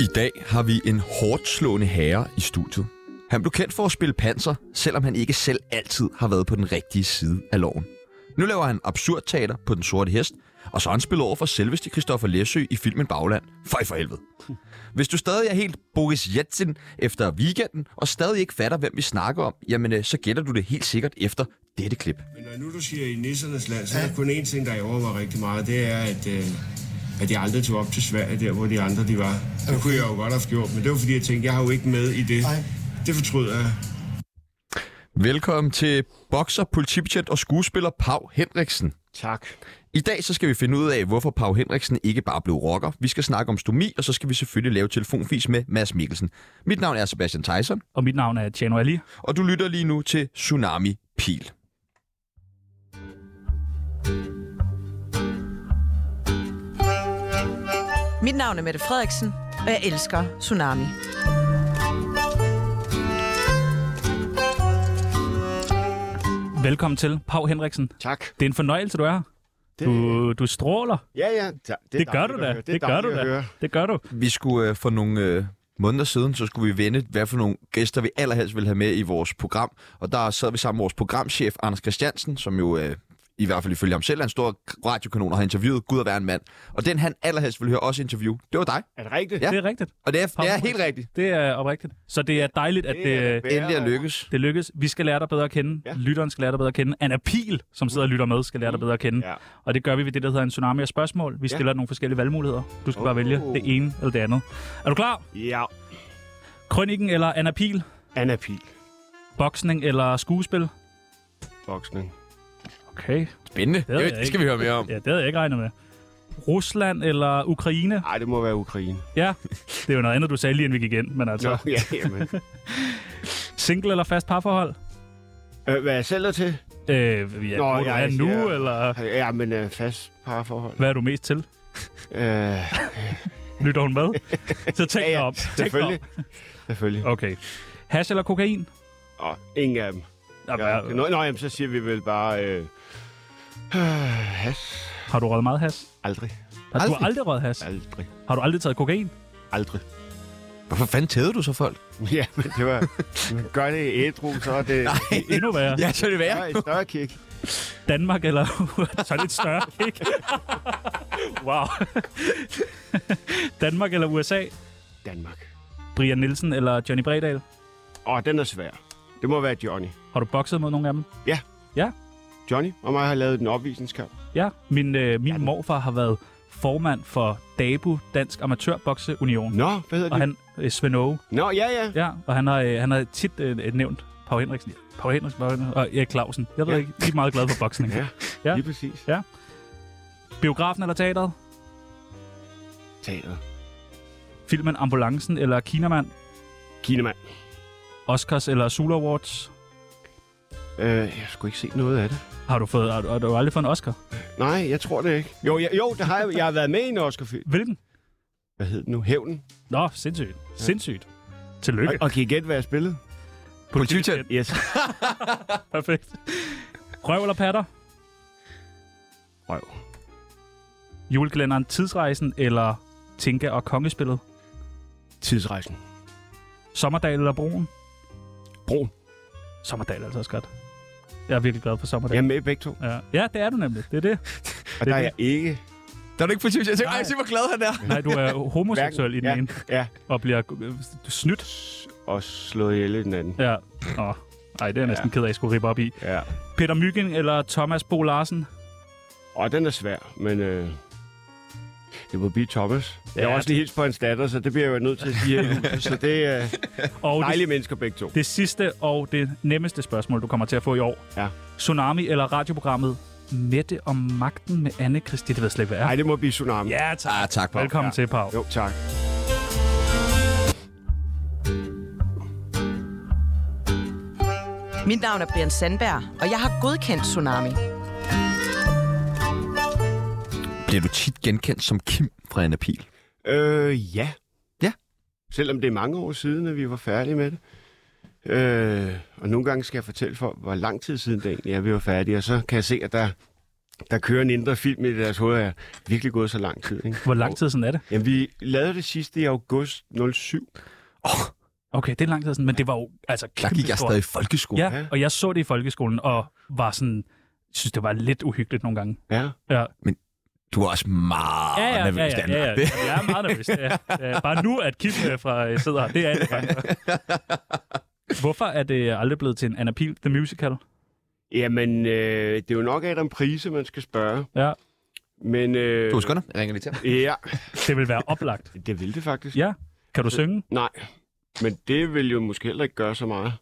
I dag har vi en hårdt slående herre i studiet. Han blev kendt for at spille panser, selvom han ikke selv altid har været på den rigtige side af loven. Nu laver han absurd teater på Den Sorte Hest, og så har han spillet over for selveste Christoffer Læsø i filmen Bagland. Fej for helvede. Hvis du stadig er helt Boris Jetsin efter weekenden, og stadig ikke fatter, hvem vi snakker om, jamen øh, så gætter du det helt sikkert efter dette klip. Men når nu du siger i nissernes land, så er der kun én ting, der ærger mig rigtig meget. Det er, at, øh, at jeg aldrig tog op til Sverige, der hvor de andre de var. Det kunne jeg jo godt have gjort, men det var fordi, jeg tænkte, jeg har jo ikke med i det. Nej. Det fortryder jeg. Velkommen til bokser, politibetjent og skuespiller Pau Henriksen. Tak. I dag så skal vi finde ud af, hvorfor Pau Henriksen ikke bare blev rocker. Vi skal snakke om stomi, og så skal vi selvfølgelig lave telefonfis med Mads Mikkelsen. Mit navn er Sebastian Theisen, Og mit navn er Tjano Ali. og du lytter lige nu til Tsunami Pil. Mit navn er Mette Frederiksen, og jeg elsker Tsunami. Velkommen til, Pau Henriksen. Tak. Det er en fornøjelse, du er her. Det, Du, du stråler. ja, ja. Det, er Det, det gør dejligt du at da. høre. Det, det gør du dejligt at da. høre. Det gør du. Vi skulle øh, for nogle øh, måneder siden, så skulle vi vende, hvad for nogle gæster vi allerhelst ville have med i vores program. Og der sad vi sammen med vores programchef, Anders Christiansen, som jo øh, i hvert fald ifølge ham selv er en stor radiokanon og har interviewet Gud og være en mand. Og den han allerhelst ville høre os interview, det var dig. Er det rigtigt? Ja. Det er rigtigt. Og det er, det er helt rigtigt. Det er oprigtigt. Så det er dejligt, at er da det, øh, værre Endelig at over. lykkes. det lykkes. Vi skal lære dig bedre at kende. Ja. Mm. Lytteren skal lære dig bedre at kende. Anna Pil, som sidder og lytter med, skal lære dig bedre at kende. Ja. Og det gør vi ved det, der hedder en tsunami af spørgsmål. Vi stiller nogle forskellige valgmuligheder. Du skal bare Oh. vælge det ene eller det andet. Er du klar? Ja. Krøniken eller Anna Pil? Anna Pil. Boksning eller skuespil? Boksning. Okay. Spændende. ved jeg Det, det skal vi høre mere om. Ja, det havde jeg ikke regnet med. Rusland eller Ukraine? Nej, det må være Ukraine. Ja, det er jo noget andet, du sagde lige inden vi gik ind, men altså. Nå, Ja. ja, jamen. Single eller fast parforhold? øh, hvad jeg selv er til? Øh, ja, Nå, hvor du jeg er nu, siger- eller Ja, men øh, fast parforhold. hvad er du mest til? Øh, Lytter hun med? Så tænk Ja, ja, dig op. Tænk dig selvfølgelig. op. selvfølgelig. Okay. Hash eller kokain? Og ingen af dem. Jamen, Ja, ja. nå, nå, jamen, så siger vi vel bare... Øh, øh, has. Har du røget meget hash? Aldrig. Har du Aldrig. har aldrig røget hash? Aldrig. Har du aldrig taget kokain? Aldrig. Hvorfor fanden tædede du så folk? Ja, men det var... Gør det ædru, så er det... Nej. Endnu værre. Ja, så er det Der er et større kick. Danmark eller... så er det lidt større, ikke? wow. Danmark eller USA? Danmark. Brian Nielsen eller Johnny Bredal? Åh, den er svær. Det må være Johnny. Har du bokset mod nogle af dem? Johnny og mig har lavet en opvisningskamp. Ja, min, øh, min Ja, den- morfar har været formand for DABU, Dansk Amatørbokseunion. Nå, hvad hedder det? Og han, øh, Svend Aage, Nå, ja, ja. ja, og han har, øh, han har tit øh, øh, nævnt Pau Henriksen, Pau Henriksen, Pau Henriksen og Erik Clausen. Jeg ved Ja. ikke, de er meget glade for boksning. Ja, Ja. ja. lige præcis. Biografen eller teateret? Teater. Filmen Ambulancen eller Kinamand? Kinemand. Oscars eller Zulu Awards? Øh, jeg skulle ikke se noget af det. Har du, fået, har, du- har du aldrig fået en Oscar? Nej, jeg tror det ikke. Jo, jeg, jo det har jeg, jeg har været med i en oscar -film. Hvilken? Hvad hed den nu? Hævnen. Nå, sindssygt. Sindssygt. Tillykke. Og, og kan I gætte, hvad jeg spillede? Politibetjent. Yes. Perfekt. Røv eller patter? Røv. Julekalenderen Tidsrejsen eller Tinka og Kongespillet? Tidsrejsen. Sommerdal eller Broen? Brun. Sommerdal er altså også godt. Jeg er virkelig glad for Sommerdal. Jeg er med i begge to. Ja. ja, det er du nemlig. Det er det. Og Det der er er jeg ikke... Der er du ikke politibetjent. Tænk, Nej. ej, se hvor glad han er. Nej, du er homoseksuel i den ja, ene, ja. og bliver øh, snydt. Og slået ihjel i den anden. Ja. Nå. Ej, det er jeg næsten ked af, at jeg skulle rippe op i. Ja. Peter Myggen eller Thomas Bo Larsen? Og den er svær, men... Øh, det må blive Thomas. Ja, jeg Ja, har også lige hilst på hans datter, så det bliver jeg jo nødt til at sige. her i huset, så det er øh, Og det, dejlige mennesker begge to. det sidste og det nemmeste spørgsmål, du kommer til at få i år. Ja. Tsunami eller radioprogrammet Mette om magten med Anne Christine? Det ved jeg slet ikke, hvad er. Nej, det må blive Tsunami. Ja, tak. Ah, tak, Pau. Velkommen til, Pau. Jo, tak. Mit navn er Brian Sandberg, og jeg har godkendt Tsunami. Bliver du tit genkendt som Kim fra Anna Pil? Øh, ja. Ja. Selvom det er mange år siden, at vi var færdige med det. Øh, og nogle gange skal jeg fortælle folk, hvor lang tid siden det egentlig er, vi var færdige, og så kan jeg se, at der, der kører en indre film i deres hoved, at jeg er virkelig gået så lang tid. Ikke? Hvor lang tid sådan er det? Jamen, vi lavede det sidste i august 07. Okay, det er lang tid sådan, men det var jo altså Der kæmpe gik jeg stadig i folkeskole. Ja. Ja, og jeg så det i folkeskolen, og var sådan, synes, det var lidt uhyggeligt nogle gange. Ja. Ja, Du var også meget ja, ja, ja, Ah, nervøs, ja, Danmark. ja, ja. jeg er meget nervøs. Ja. Ja, bare nu, at Kim øh, fra øh, sidder her, det er jeg ikke. Hvorfor er det aldrig blevet til en Anna Pihl, The Musical? Jamen, øh, det er jo nok Adam Prise, man skal spørge. Ja, Men, øh, Du husker det? Jeg ringer lige til ham. Ja, det vil være oplagt. det vil det faktisk. Ja, kan du synge? Nej, men det vil jo måske heller ikke gøre så meget.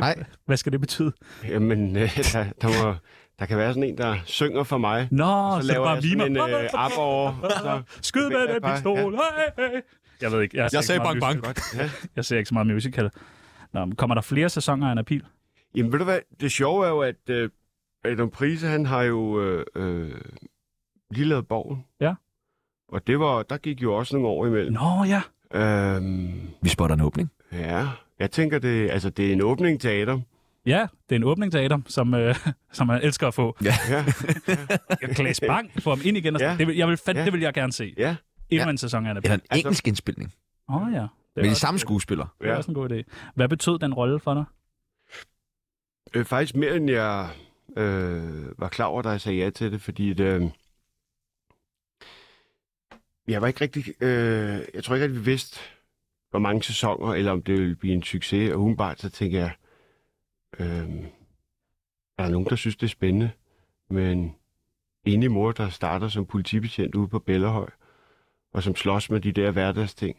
Nej, Hvad skal det betyde? Jamen, øh, der, der, må, der kan være sådan en, der synger for mig. Nå, så så, så det laver bare jeg sådan en mimer. øh, app over. Så, Skyd med den Ja. pistol. Hey, hey. Jeg ved ikke. Jeg, ser jeg ikke sagde meget bang bang. musical. Jeg ser ikke så meget musical. Nå, men kommer der flere sæsoner af Anna Pihl? Jamen, ved du hvad? Det sjove er jo, at øh, Adam Prise, han har jo øh, øh, lige lavet Borgen. Ja. Og det var, der gik jo også nogle år imellem. Nå ja. Øhm, Vi spotter en åbning. ja, jeg tænker, det, altså, det er en åbning til Adam. Ja, det er en åbning til Adam, som, øh, som han elsker at få. Ja, Klaas Bang får ham ind igen. Og ja. Ja. det, vil, jeg vil fat, Ja. det vil jeg gerne se. Endnu ja, Ja. en sæson af Anna Eller Pihl. en engelsk indspilning. Åh oh, ja. Med de også- samme skuespillere. Det er ja. også en god idé. Hvad betød den rolle for dig? Øh, faktisk mere, end jeg øh, var klar over, da jeg sagde ja til det, fordi det, øh, jeg var ikke rigtig... Øh, jeg tror ikke, at vi vidste, hvor mange sæsoner, eller om det ville blive en succes. Og umiddelbart, så tænker jeg, øh, er der nogen, der synes, det er spændende? Men enig mor, der starter som politibetjent ude på Bellerhøj, og som slås med de der hverdagsting.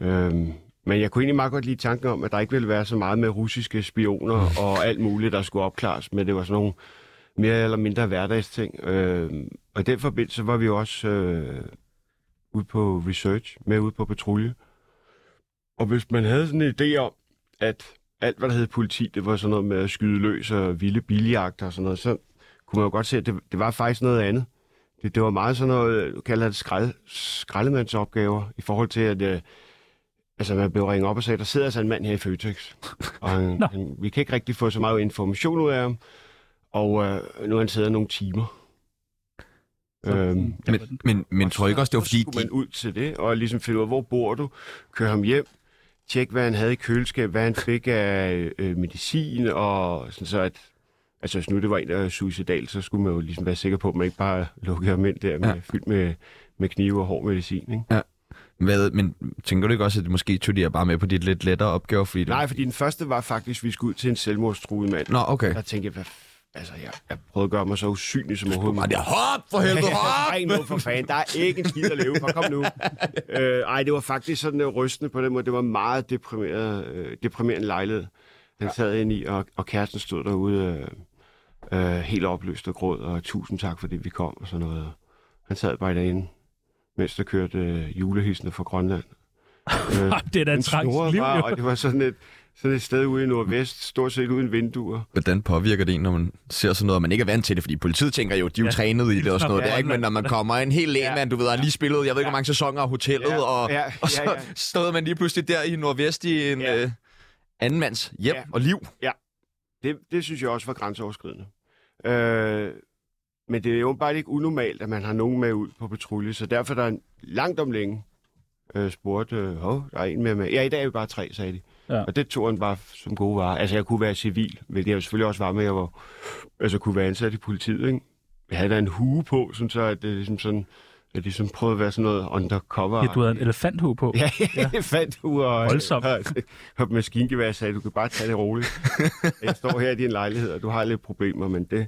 Øhm, men jeg kunne egentlig meget godt lide tanken om, at der ikke ville være så meget med russiske spioner og alt muligt, der skulle opklares, men det var sådan nogle mere eller mindre hverdagsting. Øhm, og i den forbindelse var vi jo også øh, ude på research, med ude på patrulje. Og hvis man havde sådan en idé om, at alt, hvad der hed politi, det var sådan noget med at skyde løs og vilde biljagter og sådan noget, så kunne man jo godt se, at det, det var faktisk noget andet. Det, det var meget sådan noget, du kalder det skrald, skraldemandsopgaver, i forhold til, at øh, Altså, man blev ringet op og sagde, der sidder altså en mand her i Føtex, og han, Nå. han, vi kan ikke rigtig få så meget information ud af ham, og øh, nu har han siddet nogle timer. Øhm, Men, men, men tror I ikke også, det var så fordi, skulle de, man ud til det, og ligesom finde ud af, hvor bor du, køre ham hjem, tjek, hvad han havde i køleskab, hvad han fik af øh, medicin, og sådan så, at altså, hvis nu det var en, der var suicidal, så skulle man jo ligesom være sikker på, at man ikke bare lukkede ham ind der, med, Ja. ja. fyldt med, med knive og hård medicin, ikke? Hvad, men tænker du ikke også, at måske tog de jer bare med på dit lidt lettere opgave? Fordi det... Nej, fordi den første var faktisk, at vi skulle ud til en selvmordstruet mand. Nå, okay. Der tænkte jeg, hvad f- altså, jeg, jeg prøvede at gøre mig så usynlig som overhovedet. Var muligt. det hop for helvede, hop! Ej, nu for fanden. Der er ikke en skid at leve for. Kom nu. Øh, ej, det var faktisk sådan øh, rystende på den måde. Det var en meget deprimeret, øh, deprimerende lejlighed. Den sad ind i, og, og kæresten stod derude øh, øh, helt opløst og gråd, og tusind tak, fordi vi kom og sådan noget. Han sad bare derinde, mens der kørte øh, julehissene fra Grønland. Øh, det er da den et trængt snurrede liv, bare, jo. og det var sådan et, sådan et sted ude i Nordvest, stort set uden vinduer. Hvordan påvirker det en, når man ser sådan noget, og man ikke er vant til det? Fordi politiet tænker jo, de er jo Ja. trænet i det og sådan noget. Ja, Der, ikke? Men når man kommer en helt lægmand, du ved, har lige spillet, jeg ved ikke, hvor mange sæsoner af hotellet, Ja, og, ja, og så ja, ja. stod man lige pludselig der i Nordvest i en Ja. øh, anden mands hjem Ja. og liv. Det, det synes jeg også var grænseoverskridende. Øh, men det er jo bare ikke unormalt, at man har nogen med ud på patrulje, så derfor der er en, langt om længe øh, spurgt, øh, hov, der er en med med. Ja, i dag er vi bare tre, sagde de. Ja. Ja. Og det tog han bare som gode var. Altså, jeg kunne være civil, hvilket jeg selvfølgelig også var med, jeg var, altså, kunne være ansat i politiet, ikke? Jeg havde da en hue på, sådan så, at det er ligesom sådan, at de sådan prøvede at være sådan noget undercover. Ja, du havde en elefanthue på. Ja, ja. fandt du og, Voldsomt. og, og maskingevær sagde, du kan bare tage det roligt. Jeg står her i din lejlighed, og du har lidt problemer, men det...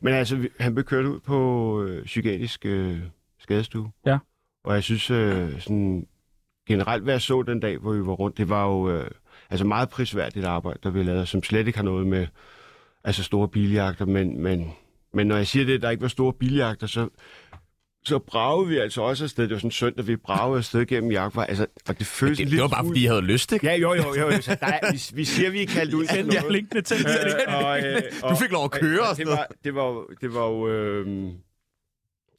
Men altså, vi- han blev kørt ud på øh, psykiatrisk øh, skadestue. Ja. Og jeg synes øh, sådan, generelt, hvad jeg så den dag, hvor vi var rundt, det var jo øh, altså meget prisværdigt arbejde, der vi lavede, som slet ikke har noget med altså store biljagter, men, men, men når jeg siger det, at der ikke var store biljagter, så, så bragede vi altså også afsted. Det var sådan en søndag, vi bragede afsted gennem jagtvej. Altså, og det føltes Det, en det lille var bare, smule- fordi jeg havde lyst, ikke? Ja, jo, jo, jo. jo. Så der er, vi, vi siger, vi er kaldt ud til Den der noget. blinkende tænd. Øh, og, øh, Du fik lov at køre og det sådan var, det var, jo- det var jo... Øh,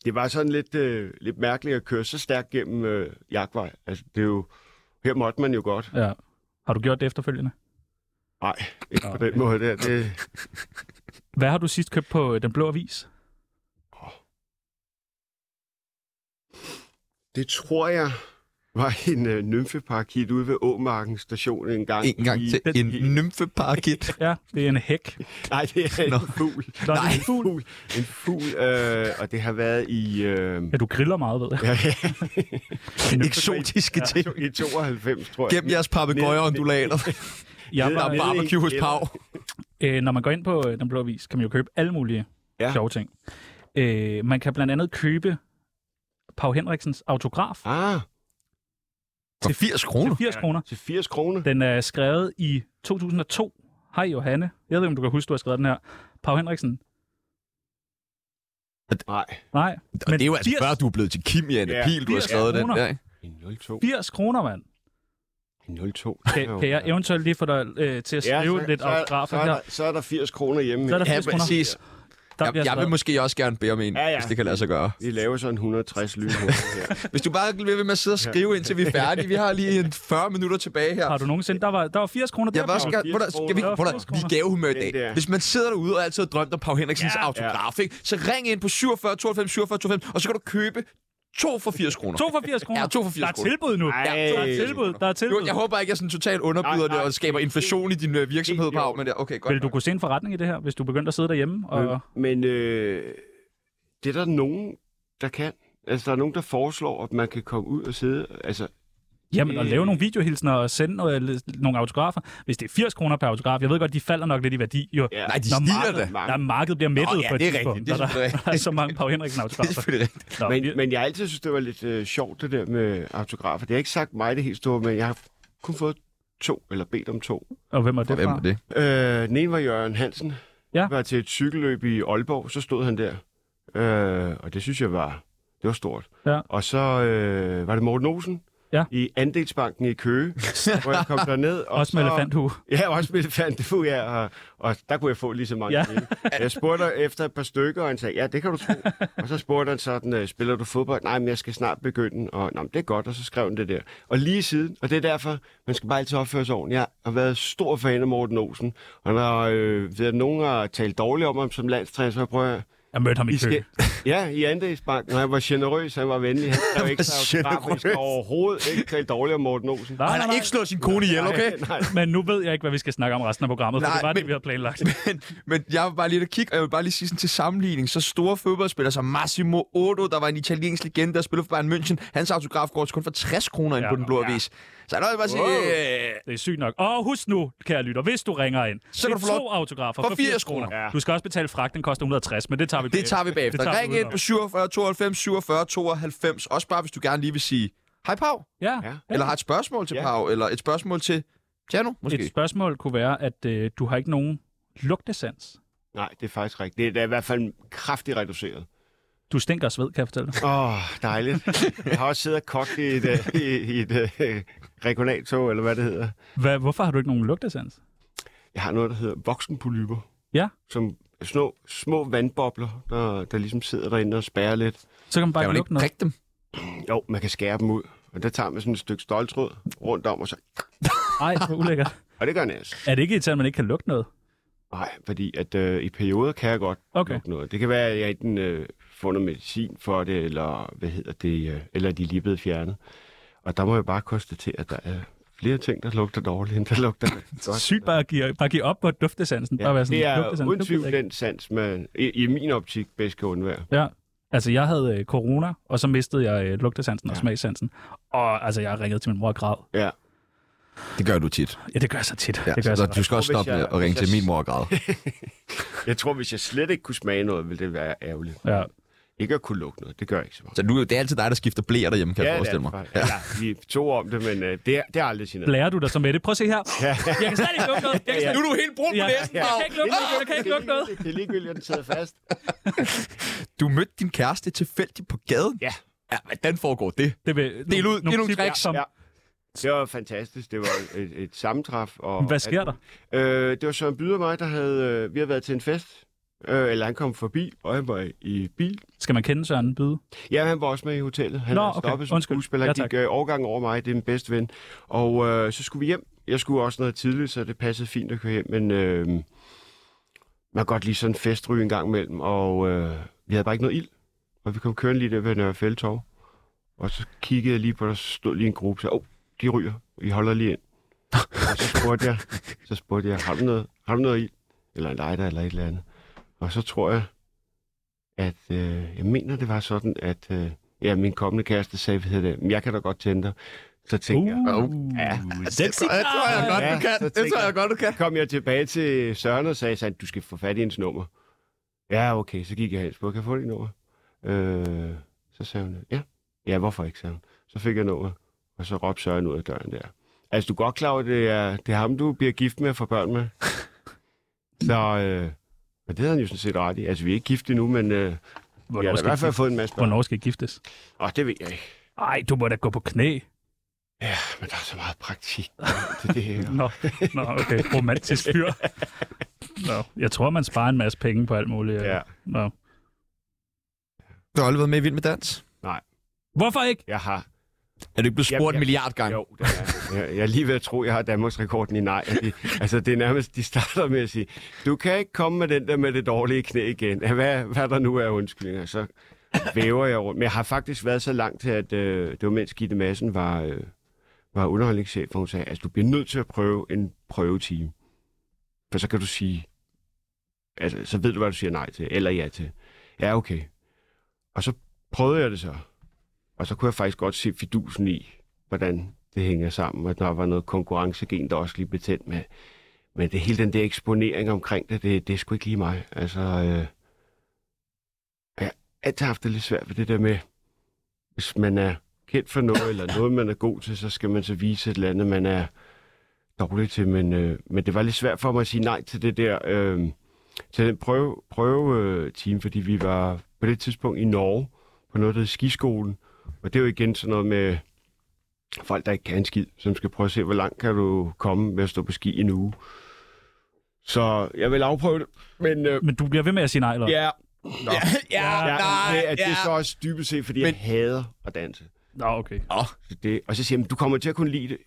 det var sådan lidt, øh, lidt mærkeligt at køre så stærkt gennem øh, jagtvej. Altså, det er jo... Her måtte man jo godt. Ja. Har du gjort det efterfølgende? Nej, ikke på den måde der. Det, Hvad har du sidst købt på øh, Den Blå Avis? det tror jeg var en øh, nymfeparakit ude ved Åmarken station en gang. En gang i- til. En nymfeparakit. Ja, det er en hæk. Nej, det er en Nå. fugl. Nå, Nej. Nej. Det er en fugl. fugl. En fugl, øh, og det har været i... Øh, Ja, du griller meget, ved jeg. ja, ja, En Eksotiske ting. i 92, tror jeg. Gem jeres papegøjer og undulater. Jeg Der er var, barbecue hos Pau. øh, når man går ind på øh, Den Blå Avis, kan man jo købe alle mulige ja. Ja. sjove ting. Øh, man kan blandt andet købe Pau Henriksens autograf Ah, Til 80 kroner. til 80 kroner. til 80 kroner. Den er skrevet i 2002. Hej Johanne. Jeg ved ikke, om du kan huske, du har skrevet den her. Pau Henriksen. Nej, Nej. Og det er jo altså før, du er blevet til Kim i Anne Ja. Pil, du har 80 skrevet den kroner. der. ikke? en 02. 80 kroner, mand. En 02. Kan, kan jeg eventuelt lige få dig øh, til at skrive ja, lidt autografer så, er her? der, så er der 80 kroner hjemme. Så er der Ja, 80 kroner. præcis. Der bliver Jeg, jeg vil skrevet. måske også gerne bede om en, Ja, ja. hvis det kan lade sig gøre. Vi laver sådan 160 lynhurtigt her. Hvis du bare bliver ved med at sidde og skrive, indtil vi er færdige. Vi har lige en 40 minutter tilbage her. Har du nogensinde... Der var, der var 80 kroner Jeg der. var også Pau. gerne, hvor der, skal vi, hvor der, vi gav humør i Den dag. der. Hvis man sidder derude og altid har drømt om Pau Henriksens Ja. autograf, ikke? så ring ind på 47 92 47 92, og så kan du købe to for 80 kroner. To for 80 kroner. Ja, to for 80 Der er kroner. tilbud nu. Ej. Ja, der er tilbud. Der er tilbud. Nu, jeg håber ikke, jeg sådan totalt underbyder Nej, det nej. og skaber inflation i din øh, virksomhed, Helt i Pau, orden. men det, okay, godt. Øhm. Vil du nok. kunne se en forretning i det her, hvis du begyndte at sidde derhjemme? Og... Men- Men øh, det er der nogen, der kan. Altså, der er nogen, der foreslår, at man kan komme ud og sidde. Altså, Jamen, Øh. og lave nogle videohilsner og sende noget, øh, nogle autografer. Hvis det er 80 kroner per autograf, jeg ved godt, de falder nok lidt i værdi. Jo. ja, Nej, de Nå, stiger Martin. da. Der er markedet bliver mættet Nå, ja, på et det er tidspunkt, rigtigt. Det er når der, selvfølgelig der er så mange Pau Henriksen Det er autografer. selvfølgelig rigtigt. Nå, Men, vi- men jeg har altid synes, det var lidt øh, sjovt, det der med autografer. Det har ikke sagt mig det helt store, men jeg har kun fået to, eller bedt om to. Og hvem er det Hvem fra? er det? Øh, den ene var Jørgen Hansen. Ja. Det var til et cykelløb i Aalborg, så stod han der. Øh, og det synes jeg var, det var stort. Ja. Og så øh, var det Morten Olsen Ja. i Andelsbanken i Køge, hvor jeg kom derned. Og Også med så- elefanthue. Ja, også med elefanthue, ja. Og, og der kunne jeg få lige så mange. Ja. Ja. Jeg spurgte efter et par stykker, og han sagde, ja, det kan du tro. Og så spurgte han sådan, øh, spiller du fodbold? Nej, men jeg skal snart begynde. Og Nå, men det er godt, og så skrev han det der. Og lige siden, og det er derfor, man skal bare altid opføre sig ordentligt. Jeg har været stor fan af Morten Olsen, og når øh, ved, at nogen har talt dårligt om ham som landstræner, så prøver jeg, Jeg mødte ham i I kø. skal, ja, i andelsbanken, og han var generøs, han var venlig, han skrev ikke var så autografer. Jeg skal overhovedet ikke tale dårligt om Morten Olsen. Nej, Han nej, har nej. ikke slået sin kone ihjel, okay? Nej, nej. Men nu ved jeg ikke, hvad vi skal snakke om resten af programmet, for Nej, det var det, men- vi havde planlagt. Men, men jeg var bare lidt at kigge, og jeg vil bare lige sige sådan til sammenligning, så store fodboldspillere som Massimo Otto, der var en italiensk legende, der spillede for Bayern München, hans autograf går til kun for 60 kroner ind Ja, på den blå ja. avis. Så jeg vil bare sige, øh, Det er sygt nok. Og husk nu, kære lytter, hvis du ringer ind, Så kan det er du få lov- to autografer for for 80 80 kroner. kroner. Du skal også betale fragt, den koster 160, men det tager vi det tager vi bagefter. tager vi Ring ind udenom. på 47 92 47 92, også bare hvis du gerne lige vil sige, hej Pau, Ja. Ja. eller har et spørgsmål til Ja. Pau, eller et spørgsmål til Tjerno, måske. Et spørgsmål kunne være, at øh, du har ikke nogen lugtesans. Nej, det er faktisk rigtigt. Det er, det er i hvert fald kraftigt reduceret. Du stinker af sved, kan jeg fortælle dig. Åh, oh, dejligt. Jeg har også siddet og kogt i et, øh, i, i et øh, regionaltog, eller hvad det hedder. Hvad, hvorfor har du ikke nogen lugtesans? Jeg har noget, der hedder voksenpolyper. Ja. Som små, små vandbobler, der, der ligesom sidder derinde og spærrer lidt. Så kan man bare Kan ikke man ikke lugte noget. prikke dem? Jo, man kan skære dem ud. Og der tager man sådan et stykke stoltråd rundt om, og så... Nej, det er ulækkert. Og det gør næs. Er det ikke irriterende, at man ikke kan lugte noget? Nej, fordi at øh, i perioder kan jeg godt Okay. lugte noget. Det kan være, at jeg enten øh, får noget medicin for det, eller hvad hedder det, øh, eller de er lige blevet fjernet. Og der må jeg bare konstatere, at der er flere ting, der lugter dårligt, end der lugter godt. Sygt bare at give, bare give op på duftesansen. Ja, bare være sådan, det er "Duftesansen, uden det ved tvivl jeg ikke." den sans, man i, i min optik bedst kan undvære. Ja. Altså, jeg havde øh, corona, og så mistede jeg øh, lugtesansen og Ja. smagsansen. Og altså, jeg ringede til min mor og græd. Ja. Det gør du tit. Ja, det gør jeg så tit. Ja, det gør jeg så så du skal også Og hvis stoppe med jeg- at ringe hvis jeg- til min mor og græde. Jeg tror, hvis jeg slet ikke kunne smage noget, ville det være ærgerligt. Ja. Ikke at kunne lugte noget, det gør jeg ikke så meget. Så nu, det er altid dig, der skifter blære derhjemme, kan jeg forestille mig. Ja. ja, vi tog om det, men øh, det, er, det er aldrig sin Blærer du dig så med det? Prøv at se her. Jeg kan slet ikke lugte noget. Jeg kan slet Nu er du helt brun på Ja. næsen, Jeg Pau. kan ikke lugte noget. Jeg kan ikke lugte noget. Det er ligegyldigt, at den sidder fast. Du mødte din kæreste tilfældigt på gaden? Ja. Ja, hvordan foregår det? Det vil, Del ud. Giv nogle tips, tricks. som- Ja. Det var fantastisk. Det var et, et sammentræf. Og Hvad sker der? Øh, det var Søren Byder og mig, der havde... Øh, vi havde været til en fest. Øh, eller han kom forbi, og han var i bil. Skal man kende Søren Uh. Byde? Ja, han var også med i hotellet. Han Nå, havde okay. stoppet som Undskyld. skuespiller. Han Ja, ja, tak. gik øh, overgang over mig. Det er min bedste ven. Og øh, så skulle vi hjem. jeg skulle også noget tidligt, så det passede fint at køre hjem, men øh, man kan godt lige sådan en festryge en gang imellem, og øh, vi havde bare ikke noget ild. Og vi kom kørende lige der ved Nørre Fældtorv, og så kiggede jeg lige på, der stod lige en gruppe, så åh, oh, de ryger, I holder lige ind. og så spurgte jeg, så spurgte jeg, har du noget, har du noget ild? Eller en lighter eller et eller andet. Og så tror jeg, at øh, jeg mener, det var sådan, at øh, ja, min kommende kæreste sagde, hvad hedder det, "Men jeg kan da godt tænde dig. Så tænkte jeg, ja. Sexy. Det tror jeg godt, Ja, du kan. så Det tænker tror jeg godt, du kan. kom jeg tilbage til Søren og sagde, at du skal få fat i hendes nummer. Ja, okay, så gik jeg hen og spurgte, kan jeg få dit nummer? Øh, så sagde hun, ja. Ja, hvorfor ikke, sagde hun. Så fik jeg nummer, og så råbte Søren ud af døren der. Altså, du er godt klar over, at det er, det er ham, du bliver gift med og får børn med. så, øh, og det havde han jo sådan set ret i. Altså, vi er ikke gift endnu, men øh, vi Hvornår har da i skal, hvert fald giftes? fået en masse børn. Hvornår skal I giftes? Åh, det ved jeg ikke. Ej, du må da gå på knæ. Ja, men der er så meget praktik til det her. Nå, Nå okay. Romantisk fyr. Nå, jeg tror, man sparer en masse penge på alt muligt. Ja, Nå. Du har aldrig været med i Vild med Dans. Hvorfor ikke? jeg har Er du ikke blevet Jamen, spurgt en jeg- milliard gange? Jo, det er. jeg. Jeg er lige ved at tro, jeg har Danmarks rekorden i nej. De, altså, det er nærmest, de starter med at sige, du kan ikke komme med den der med det dårlige knæ igen. Hvad, hvad der nu er undskyldninger, så væver jeg rundt. Men jeg har faktisk været så langt til, at øh, det var mens Gitte Madsen var, øh, var underholdningschef, hvor hun sagde, altså, du bliver nødt til at prøve en prøvetime. For så kan du sige, altså, så ved du, hvad du siger nej til, eller ja til. Ja, okay. Og så prøvede jeg det så. Og så kunne jeg faktisk godt se fidusen i, hvordan det hænger sammen, og der var noget konkurrencegen, der også lige blev tændt med. Men det hele den der eksponering omkring det, det, det er sgu ikke lige mig. Altså, øh, jeg har altid haft det lidt svært ved det der med, hvis man er kendt for noget, eller noget, man er god til, så skal man så vise et eller andet, man er dårlig til. Men, øh, men det var lidt svært for mig at sige nej til det der, øh, til den prøve, prøve øh, team, fordi vi var på det tidspunkt i Norge, på noget, der hed skiskolen. Og det er jo igen sådan noget med, folk, der ikke kan en skid, som skal prøve at se, hvor langt kan du komme med at stå på ski i en uge. Så jeg vil afprøve det, men... Øh, Men du bliver ved med at sige nej, eller? hvad? ja, Nå. ja, ja, nej, det, at det ja. er så også dybest set, fordi men... jeg hader at danse. Nå, okay. Så det, og så siger jeg, "Men du kommer til at kunne lide det.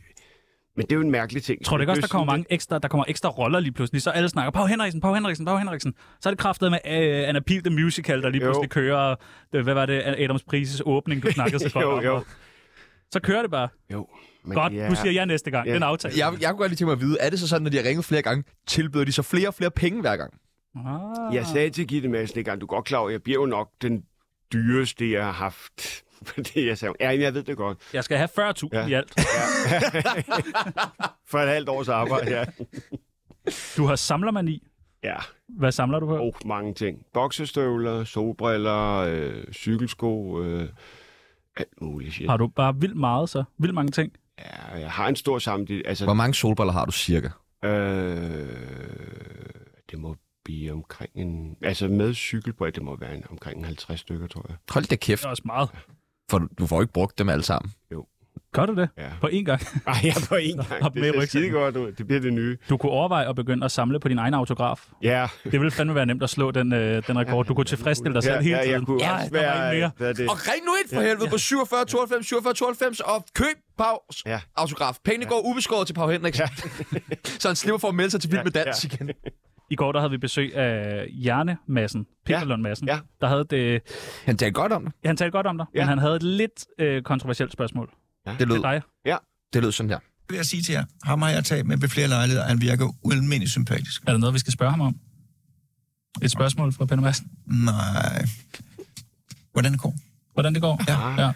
Men det er jo en mærkelig ting. Tror du Det ikke er også, jo der kommer sådan mange ekstra, der kommer ekstra roller lige pludselig? Så alle snakker, Pau Henriksen, Pau Henriksen, Pau Henriksen. Så er det kraftet med uh, Anna Pihl, The Musical, der lige Jo. pludselig kører, øh, hvad var det, Adams Prises åbning, du snakkede så godt Jo, om. jo. og- Så kører det bare. Jo, men Godt, det er- du siger ja næste gang. Ja. Den aftale. Jeg, jeg kunne godt lige tænke mig at vide, er det så sådan, når de har ringet flere gange, tilbyder de så flere og flere penge hver gang? Ah. Jeg sagde til Gitte Madsen en gang, du er godt klar over, jeg bliver jo nok den dyreste, jeg har haft. Fordi jeg sagde, ja, jamen, jeg ved det godt. Jeg skal have 40.000 ja. Ja. i alt. For et halvt års arbejde, ja. Du har samlermani. ja. Hvad samler du på? Oh, mange ting. Boksestøvler, solbriller, øh, cykelsko, øh, alt muligt shit. Har du bare vildt meget så? Vildt mange ting? Ja, jeg har en stor sammenligning. Altså, Hvor mange solbriller har du cirka? øh, det må blive omkring en... Altså med cykelbriller, det må være en, omkring en 50 stykker, tror jeg. Hold da kæft, Det er også meget. for du- du får jo ikke brugt dem alle sammen. Gør du det? Ja. På én gang. Ej, jeg er på en Op gang. med i Det ser rygsækken. skide godt ud. Det bliver det nye. Du kunne overveje at begynde at samle på din egen autograf. Ja. Det ville fandme være nemt at slå den, øh, den rekord. Du kunne tilfredsstille dig selv ja, hele ja, tiden. jeg kunne Ej, også der var en være... mere. hvad er det? Og ring nu ind for helvede på 47 92 47 92 og køb Pavs Ja. autograf. Pengene går ubeskåret til Pav Henriksen. så han slipper for at melde sig til Vild med Ja, Dans igen. I går der havde vi besøg af Hjernemassen, Peter Ja, Lund Madsen, ja. der havde det... Han talte godt om det. Han talte godt om dig, ja. Ja. men han havde et lidt øh, kontroversielt spørgsmål Det lød, til dig. det lød sådan her. vil jeg sige til jer, ham har jeg talt med ved flere lejligheder, han virker ualmindelig sympatisk. Er der noget, vi skal spørge ham om? Et spørgsmål fra Peter Madsen. Nej. Hvordan går Hvordan det går? Ja. ja.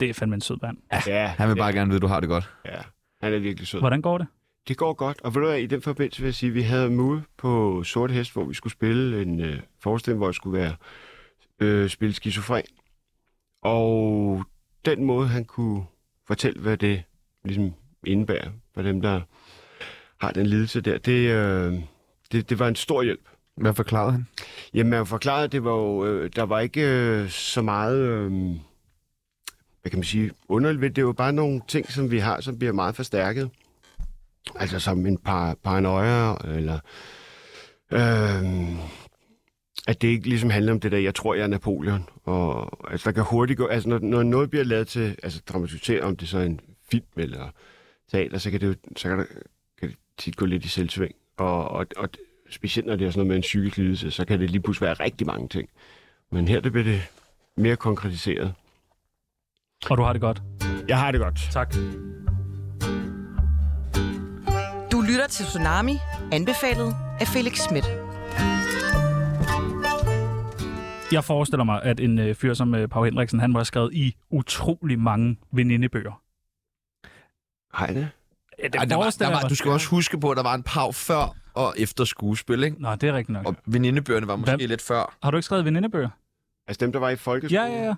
Det er fandme en sød mand. Ja, Han vil bare gerne vide, at du har det godt. ja. Han er virkelig sød. Hvordan går det? Det går godt, og ved du hvad, i den forbindelse vil jeg sige, at vi havde Mude på Sort Hest, hvor vi skulle spille en øh, forestilling, hvor jeg skulle være øh, spille skizofren. Og den måde, han kunne fortælle, hvad det ligesom indebærer for dem, der har den lidelse der, det, øh, det, det var en stor hjælp. Hvad forklarede han? Jamen, man forklarede, at det var jo, øh, der var ikke øh, så meget, øh, hvad kan man sige, underligt ved. det. Det var bare nogle ting, som vi har, som bliver meget forstærket. Altså som en par, paranoia, eller... Øh, at det ikke ligesom handler om det der, jeg tror, jeg er Napoleon. Og, altså, der kan hurtigt gå... Altså, når, når noget bliver lavet til... Altså, dramatisere, om det så er en film, eller teater, så kan det jo så kan det, kan det tit gå lidt i selvsving. Og, og, og specielt når det er sådan noget med en psykisk lidelse, så kan det lige pludselig være rigtig mange ting. Men her det bliver det mere konkretiseret. Og du har det godt. Jeg har det godt. Tak. Du lytter til Tsunami, anbefalet af Felix Schmidt. Jeg forestiller mig, at en øh, fyr som øh, Pau Henriksen, han må have skrevet i utrolig mange venindebøger. Har jeg det? Ja, det Ej, der var, der forestiller jeg var, mig. du skal også huske på, at der var en pav før og efter skuespil, ikke? Nå, det er rigtigt nok. Og venindebøgerne var måske Hvem? lidt før. Har du ikke skrevet venindebøger? Altså dem, der var i Ja, folkeskolen? ja, ja.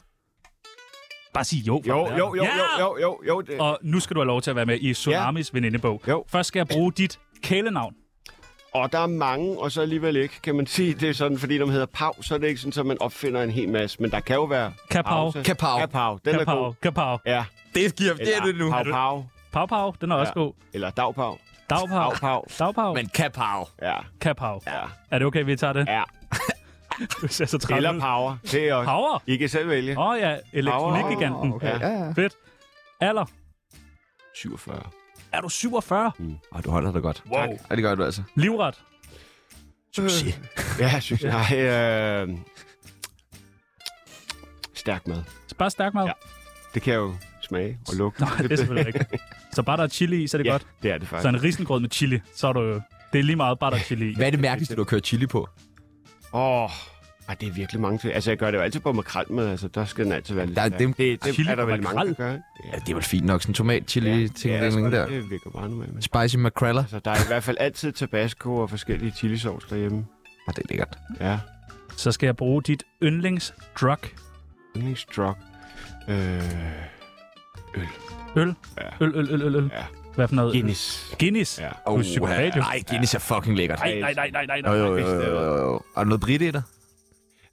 Bare sig jo. for Jo, verden. jo, jo, Ja! jo, jo, jo, jo. Det. Og nu skal du have lov til at være med i Tsunamis ja. venindebog. Jo. Først skal jeg bruge dit kælenavn. Og der er mange, og så alligevel ikke, kan man sige. Det er sådan, fordi når man hedder Pau, så er det ikke sådan, at man opfinder en hel masse. Men der kan jo være... Kapav. pause. Kapav. Kapav, den er god. Kapav. Kapav. Ja. Det giver det er det nu. Pau, pau. Pau, pau. Den er også Ja. god. Eller dagpau. Dagpav. Dagpau. Dagpav. Men kapav. Ja, Kapav. ja, Er det okay, vi tager det? ja. Du ser så træt Eller ud. power. Det er også. Power. I kan selv vælge. Åh oh, ja, elektronikgiganten. Power. Ja. Fedt. Alder. 47. Er du 47? Ej, du holder dig godt. Wow. Ja, det gør du altså. Livret. Succes. Ja, synes jeg. Nej, øh... Stærk mad. Bare stærk mad. Ja. Det kan jeg jo smage og lugte. Nej, det er selvfølgelig rigtigt. Så bare der er chili i, så er det ja, godt. det er det Så faktisk. en risengrød med chili, så er du jo... Det er lige meget, bare der er chili i. Hvad er det mærkeligste, du har kørt chili på? Åh, oh, det er virkelig mange ting. Altså, jeg gør det jo altid på makrelmad. Altså, der skal den altid være lidt Der er stærk. dem- det, det Chili er der på vel mange, der makrel? gør. ikke? Ja, Ja, det er vel fint nok. Sådan tomat, chili, ja, ting, ja, altså, der. Det virker bare normalt. Men... Spicy macreller. Altså, der er i hvert fald altid tabasco og forskellige chilisauce derhjemme. Ja, det er lækkert. Ja, Så skal jeg bruge dit yndlingsdrug. yndlingsdrug. Øh, Øl. Ja. Øl, øl, øl, øl, øl. Ja. Hvad for noget? øl? Guinness. Guinness? Ja. Du er psykopat, jo. nej, Guinness er fucking lækkert. Nej, nej, nej, nej, nej. Jo, nej. jo, jo, jo, jo, jo. Er der noget brit i dig?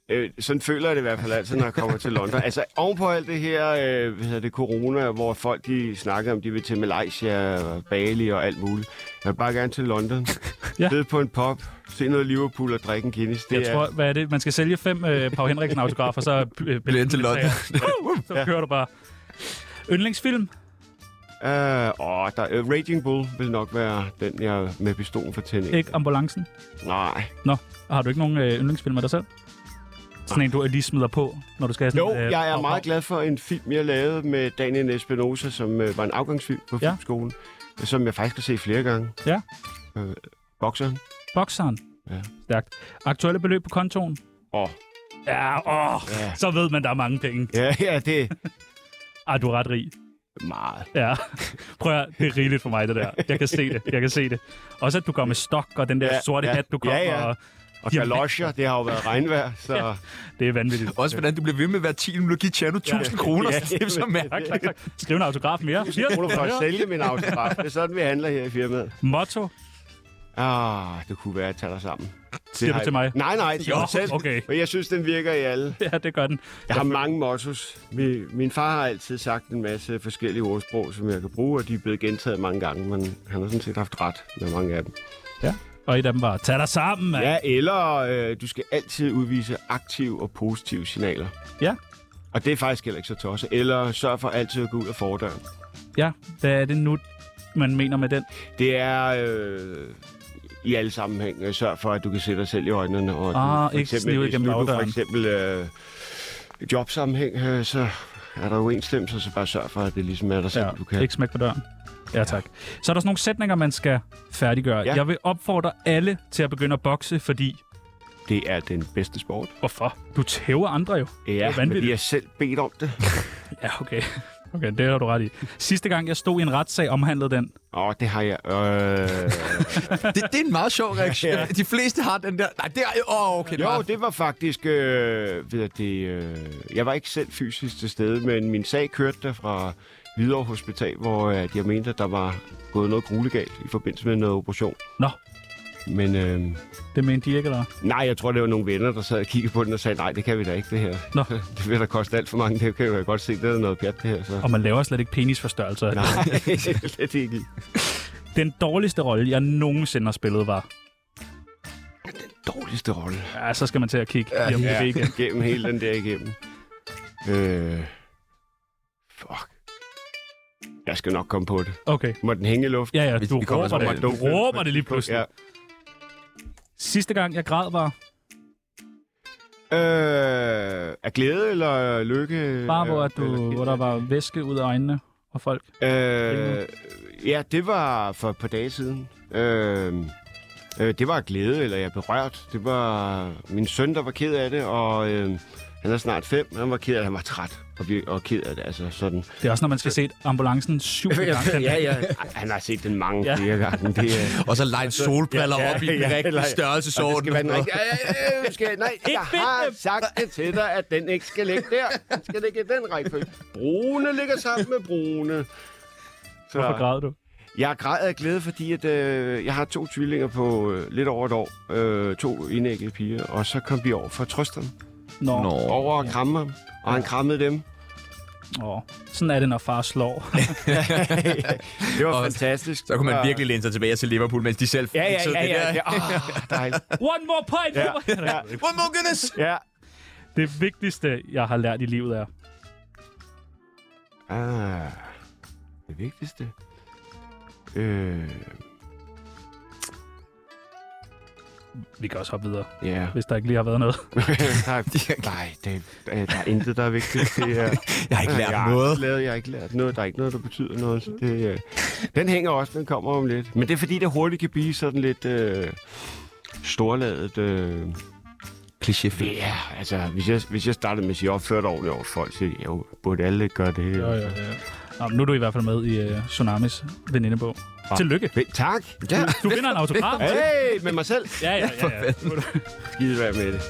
Øh, sådan føler jeg det i hvert fald altid, når jeg kommer til London. Altså, ovenpå alt det her, øh, hvad hedder det, corona, hvor folk de snakker om, de vil til Malaysia og Bali og alt muligt. Jeg vil bare gerne til London. Ja. ja. Sidde på en pop, se noget Liverpool og drikke en Guinness. Det Jeg tror, hvad er det? Man skal sælge fem øh, Pau Henriksen autografer, så øh, Bliver ind til London. så kører du bare. Yndlingsfilm? er... Øh, åh, der, øh, Raging Bull vil nok være den, jeg med pistolen for tænding. Ikke Mm, ambulancen? Nej. Nå, har du ikke nogen øh, yndlingsfilm af dig selv? Sådan en, du lige smider på, når du skal have sådan Jo, øh, jeg er Pau, meget Pau. glad for en film, jeg lavede med Daniel Espinosa, som øh, var en afgangsfilm på Ja. ja. filmskolen, som jeg faktisk har set flere gange. Ja. Øh, bokseren. Bokseren? Ja. Stærkt. Aktuelle beløb på kontoen? Åh, Ja, åh, Ja. så ved man, der er mange penge. ja, ja, det er Ej, du er ret rig. meget. Ja. Prøv at høre, det er rigeligt for mig, det der. Jeg kan se det, jeg kan se det. Også at du går med stok og den der Ja, sorte ja. hat, du kommer Ja, ja. og... Og Jamen. galosjer, det har jo været regnvejr, så... ja. Det er vanvittigt. Også hvordan du bliver ved med hver 10 minutter give Tjerno 1000 kroner. Ja, Det er så jamen. Tak, mærkeligt. tak, tak. Skriv en autograf mere. Siger Kroner for at du sælge min autograf. Det er sådan, vi handler her i firmaet. Motto, Ah, det kunne være, at jeg tager dig sammen. Det siger har du jeg- til mig. Nej, nej, til Jo, mig selv. okay. Men jeg synes, den virker i alle. Ja, det gør den. Jeg har mange mottos. Min, min far har altid sagt en masse forskellige ordsprog, som jeg kan bruge, og de er blevet gentaget mange gange, men han har sådan set haft ret med mange af dem. Og et af dem var, tag dig sammen, mand. Ja, eller øh, du skal altid udvise aktive og positive signaler. Ja. Og det er faktisk heller ikke så tosset. Eller sørg for altid at gå ud af fordøren. ja. Hvad er det nu, man mener med den? Det er øh, i alle sammenhæng. øh, Sørg for, at du kan se dig selv i øjnene. Og Ah, du, for ikke snive hvis igennem nu du For bagdøren. eksempel øh, i jobsammenhæng, øh, så er der uenstemmelse, så bare sørg for, at det ligesom er dig selv, ja. du kan. Ikke smæk på døren. Ja, tak. Så er der sådan nogle sætninger, man skal færdiggøre. Ja. Jeg vil opfordre alle til at begynde at bokse, fordi... Det er den bedste sport. Hvorfor? Du tæver andre jo. Ja, er det er vanvittigt. fordi jeg selv bedt om det. Ja, okay. Okay, det har du ret i. Sidste gang, jeg stod i en retssag, omhandlede den. Åh, oh, det har jeg. Øh... Det, det er en meget sjov reaktion. De fleste har den der... Nej, det er... Åh, okay. det Jo, var- det var faktisk, øh, ved at det, øh, jeg var ikke selv fysisk til stede, men min sag kørte der fra Hvidovre Hospital, hvor at jeg mente, at der var gået noget grulegalt i forbindelse med noget operation. Nå. Men øh, Det mente de ikke, eller? nej, jeg tror, det var nogle venner, der sad og kiggede på den og sagde, nej, det kan vi da ikke, det her. Nå. Det vil da koste alt for mange, det kan jeg godt se, det er noget pjat, det her. Så. Og man laver slet ikke penisforstørrelser. Nej, det er ikke. Den dårligste rolle, jeg nogensinde har spillet, var... Dårligste rolle. Ja, så skal man til at kigge ja, hjemme ja. igen. Gennem hele den der igennem. Øh, fuck. Ja, Jeg skal nok komme på det. Okay. Må den hænge i luften? Ja, ja, Hvis du vi kommer råber så meget det. Du dumt. råber det lige pludselig. Ja. Ja. Sidste gang, jeg græd, var Øh, af glæde eller lykke? bare, hvor, øh, at eller du, ked hvor der af- var væske ud af øjnene og folk. Øh, ja, det var for et par dage siden. Øh, øh, det var af glæde, eller jeg blev rørt. Det var min søn, der var ked af det, og øh, han er snart fem. Han var ked af det, han var træt og, vir- og ked af det, altså sådan. Det er også, når man skal se et ambulancen syv gange. ja, ja. Han har set den mange Ja. ja. flere gange. Det, Altså, er- Og så lejt solbriller ja, ja, op i den ja, rigtige eller- størrelsesorden. Og det skal være den rigtige. Ja, ja, ja, du skal, nej, jeg vind har dem. sagt det til dig, at den ikke skal ligge der. Den skal ligge i den rækkefølge. Brune ligger sammen med brune. Så Hvorfor græd du? jeg græd af glæde, fordi at, øh, jeg har to tvillinger på øh, lidt over et år. Øh, to indæggede piger. Og så kom vi over for at trøste ham. Nå. Nå. Nå. Over og kramme ham. Og han krammede dem. Nå. Sådan er det, når far slår. Det var Og fantastisk. Ah, Så kunne man virkelig læne sig tilbage til Liverpool, mens de selv Ja, ja, fixede ja, ja. det ja. der. Oh, dejligt. Ah, One more point! Ja. Ja. One more goodness! Ja. Det vigtigste, jeg har lært i livet er... Ah, det vigtigste. Øh, Vi kan også hoppe videre, ja. hvis der ikke lige har været noget. nej, nej det, øh, der er intet, der er vigtigt. Det er, Jeg har ikke lært jeg har noget. ikke Lavet, jeg har ikke lært noget. Der er ikke noget, der betyder noget. Så det, øh, den hænger også, den kommer om lidt. Men det er fordi, det hurtigt kan blive sådan lidt øh, storladet. Øh, Klichéfilm. ja, altså, hvis jeg, hvis jeg startede med at sige, at jeg opførte ordentligt over for folk, så jeg jo, burde alle ikke gøre det. Ja, ja. Nå, men nu er du i hvert fald med i uh, Tsunamis venindebog. Ja. Tillykke. Tak. Ja. Du vinder en autograf. Hey, med mig selv. Ja, ja, ja. ja. Skide være med det.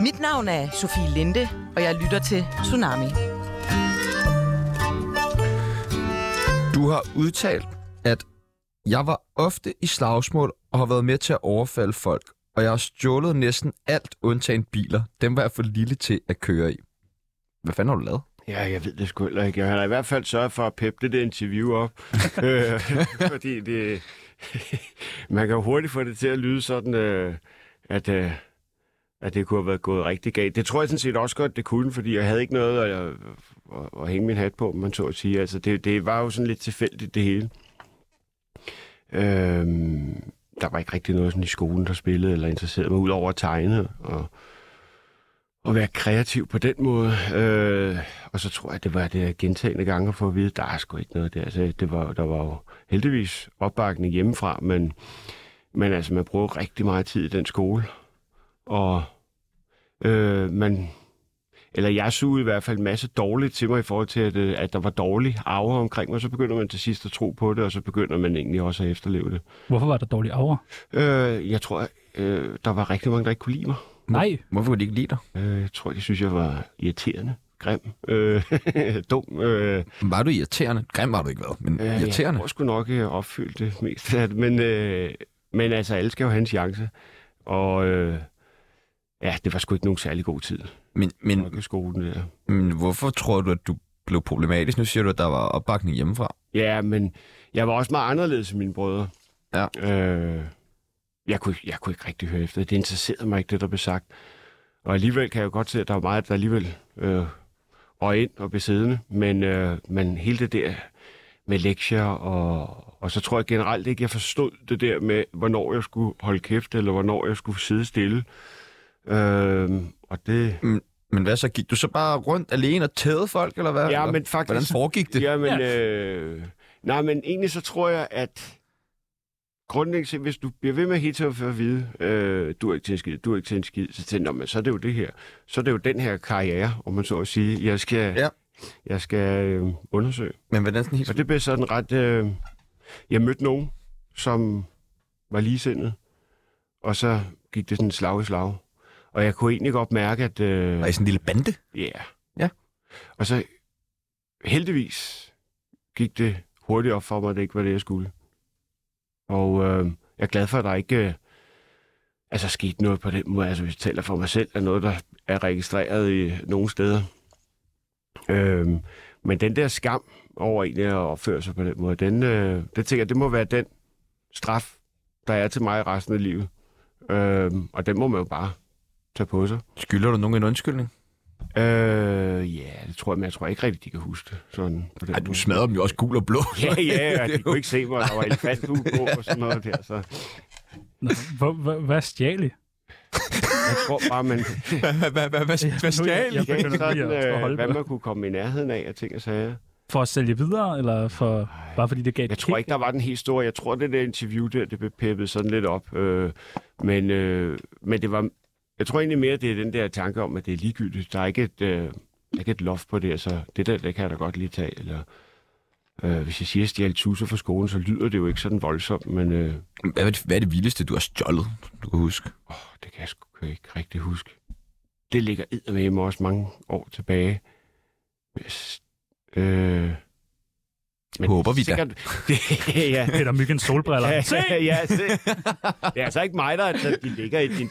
Mit navn er Sofie Linde, og jeg lytter til Tsunami. Du har udtalt, at jeg var ofte i slagsmål og har været med til at overfalde folk, og jeg har stjålet næsten alt undtagen biler. Dem var jeg for lille til at køre i. Hvad fanden har du lavet? Ja, jeg ved det sgu heller ikke. Jeg har i hvert fald sørget for at peppe det der interview op. øh, fordi det... man kan jo hurtigt få det til at lyde sådan, øh, at, øh, at det kunne have været gået rigtig galt. Det tror jeg sådan set også godt, det kunne, fordi jeg havde ikke noget at, at, at hænge min hat på, om man så at sige. Altså, det, det var jo sådan lidt tilfældigt, det hele. Øh, der var ikke rigtig noget sådan i skolen, der spillede eller interesserede mig, udover at tegne og at være kreativ på den måde. Øh, og så tror jeg, det var det gentagende gange at få at vide, der er sgu ikke noget der. Så det var, der var jo heldigvis opbakning hjemmefra, men, men altså, man bruger rigtig meget tid i den skole. Og øh, man, eller jeg sugede i hvert fald en masse dårligt til mig i forhold til, at, øh, at der var dårlig arve omkring mig. Så begynder man til sidst at tro på det, og så begynder man egentlig også at efterleve det. Hvorfor var der dårlig aura? Øh, jeg tror, øh, der var rigtig mange, der ikke kunne lide mig. Nej. Hvorfor kunne de ikke lide dig? Øh, jeg tror, de synes, jeg var irriterende, grim, øh, dum. Øh, øh, Var du irriterende? Grim var du ikke været, men øh, Jeg irriterende. tror sgu nok, jeg opfyldte det mest af det, men, øh, men altså, alle skal jo have en chance. Og øh, ja, det var sgu ikke nogen særlig god tid. Men, men, Folkeskolen der. men hvorfor tror du, at du blev problematisk? Nu siger du, at der var opbakning hjemmefra. Ja, men jeg var også meget anderledes end mine brødre. Ja. Øh, jeg, kunne, jeg kunne ikke rigtig høre efter. Det interesserede mig ikke, det der blev sagt. Og alligevel kan jeg jo godt se, at der var meget, der alligevel øh, røg ind og blev siddende. Men, øh, men hele det der med lektier, og, og så tror jeg generelt ikke, jeg forstod det der med, hvornår jeg skulle holde kæft, eller hvornår jeg skulle sidde stille. Øh, og det... Men hvad så? Gik du så bare rundt alene og tædede folk, eller hvad? Ja, Eller men faktisk... Hvordan foregik det? Jamen, øh, nej, men egentlig så tror jeg, at grundlæggende set, hvis du bliver ved med hele tiden at få at vide, øh, du er ikke til en skid, du er ikke til en skid, så tænker jeg, "Nå, men så er det jo det her. Så er det jo den her karriere, om man så at sige, jeg skal, Ja. jeg skal øh, undersøge. Men hvordan sådan helt... Og det blev sådan ret... Øh, jeg mødte nogen, som var ligesindet, og så gik det sådan slag i slag. Og jeg kunne egentlig godt mærke, at... Øh, Var I sådan en lille bande? Ja. Yeah. Ja. Og så heldigvis gik det hurtigt op for mig, at det ikke var det, jeg skulle. Og øh, jeg er glad for, at der ikke øh, altså, skete noget på den måde. Altså, hvis jeg taler for mig selv, er noget, der er registreret i nogle steder. Øh, men den der skam over egentlig at opføre sig på den måde, den, øh, det tænker jeg, det må være den straf, der er til mig resten af livet. Øh, og den må man jo bare tager på sig. Skylder du nogen en undskyldning? Øh, ja, det tror jeg, men jeg tror ikke rigtigt, de kan huske det. Sådan, på den Ej, du måde. smadrer dem jo også gul og blå. Ja, Det ja, og er de jo- kunne ikke se, hvor der var elefanthue på og sådan noget der. Så Nå, hvor, hvor, hvad stjal I? jeg tror bare, man Hvad- hvad- hvad- hvad- Hvad Nu er stjal Jeg I? begynder gav lige sådan, at- at øh, holde hvad på. man kunne komme i nærheden af og ting og sager. For at sælge videre, eller for, bare fordi det gav et Jeg tror kick? ikke, der var den helt store. Jeg tror, det der interview der, det blev peppet sådan lidt op. Øh, men, øh, men det var... Jeg tror egentlig mere, det er den der tanke om, at det er ligegyldigt. Der er ikke et, øh, der er ikke et loft på det, så det der, det kan jeg da godt lige tage. Eller, øh, hvis jeg siger, at jeg stjal tusser fra skolen, så lyder det jo ikke sådan voldsomt, men øh, Hvad er det- Hvad er det vildeste, du har stjålet, du kan huske? det kan jeg sgu ikke rigtig huske. Det ligger eddermame også mange år tilbage. Yes. Øh, men Håber vi da. da. ja, Peter Myggens solbriller. Ja, Se! ja, se. Det er altså ikke mig, der der- de ligger i din...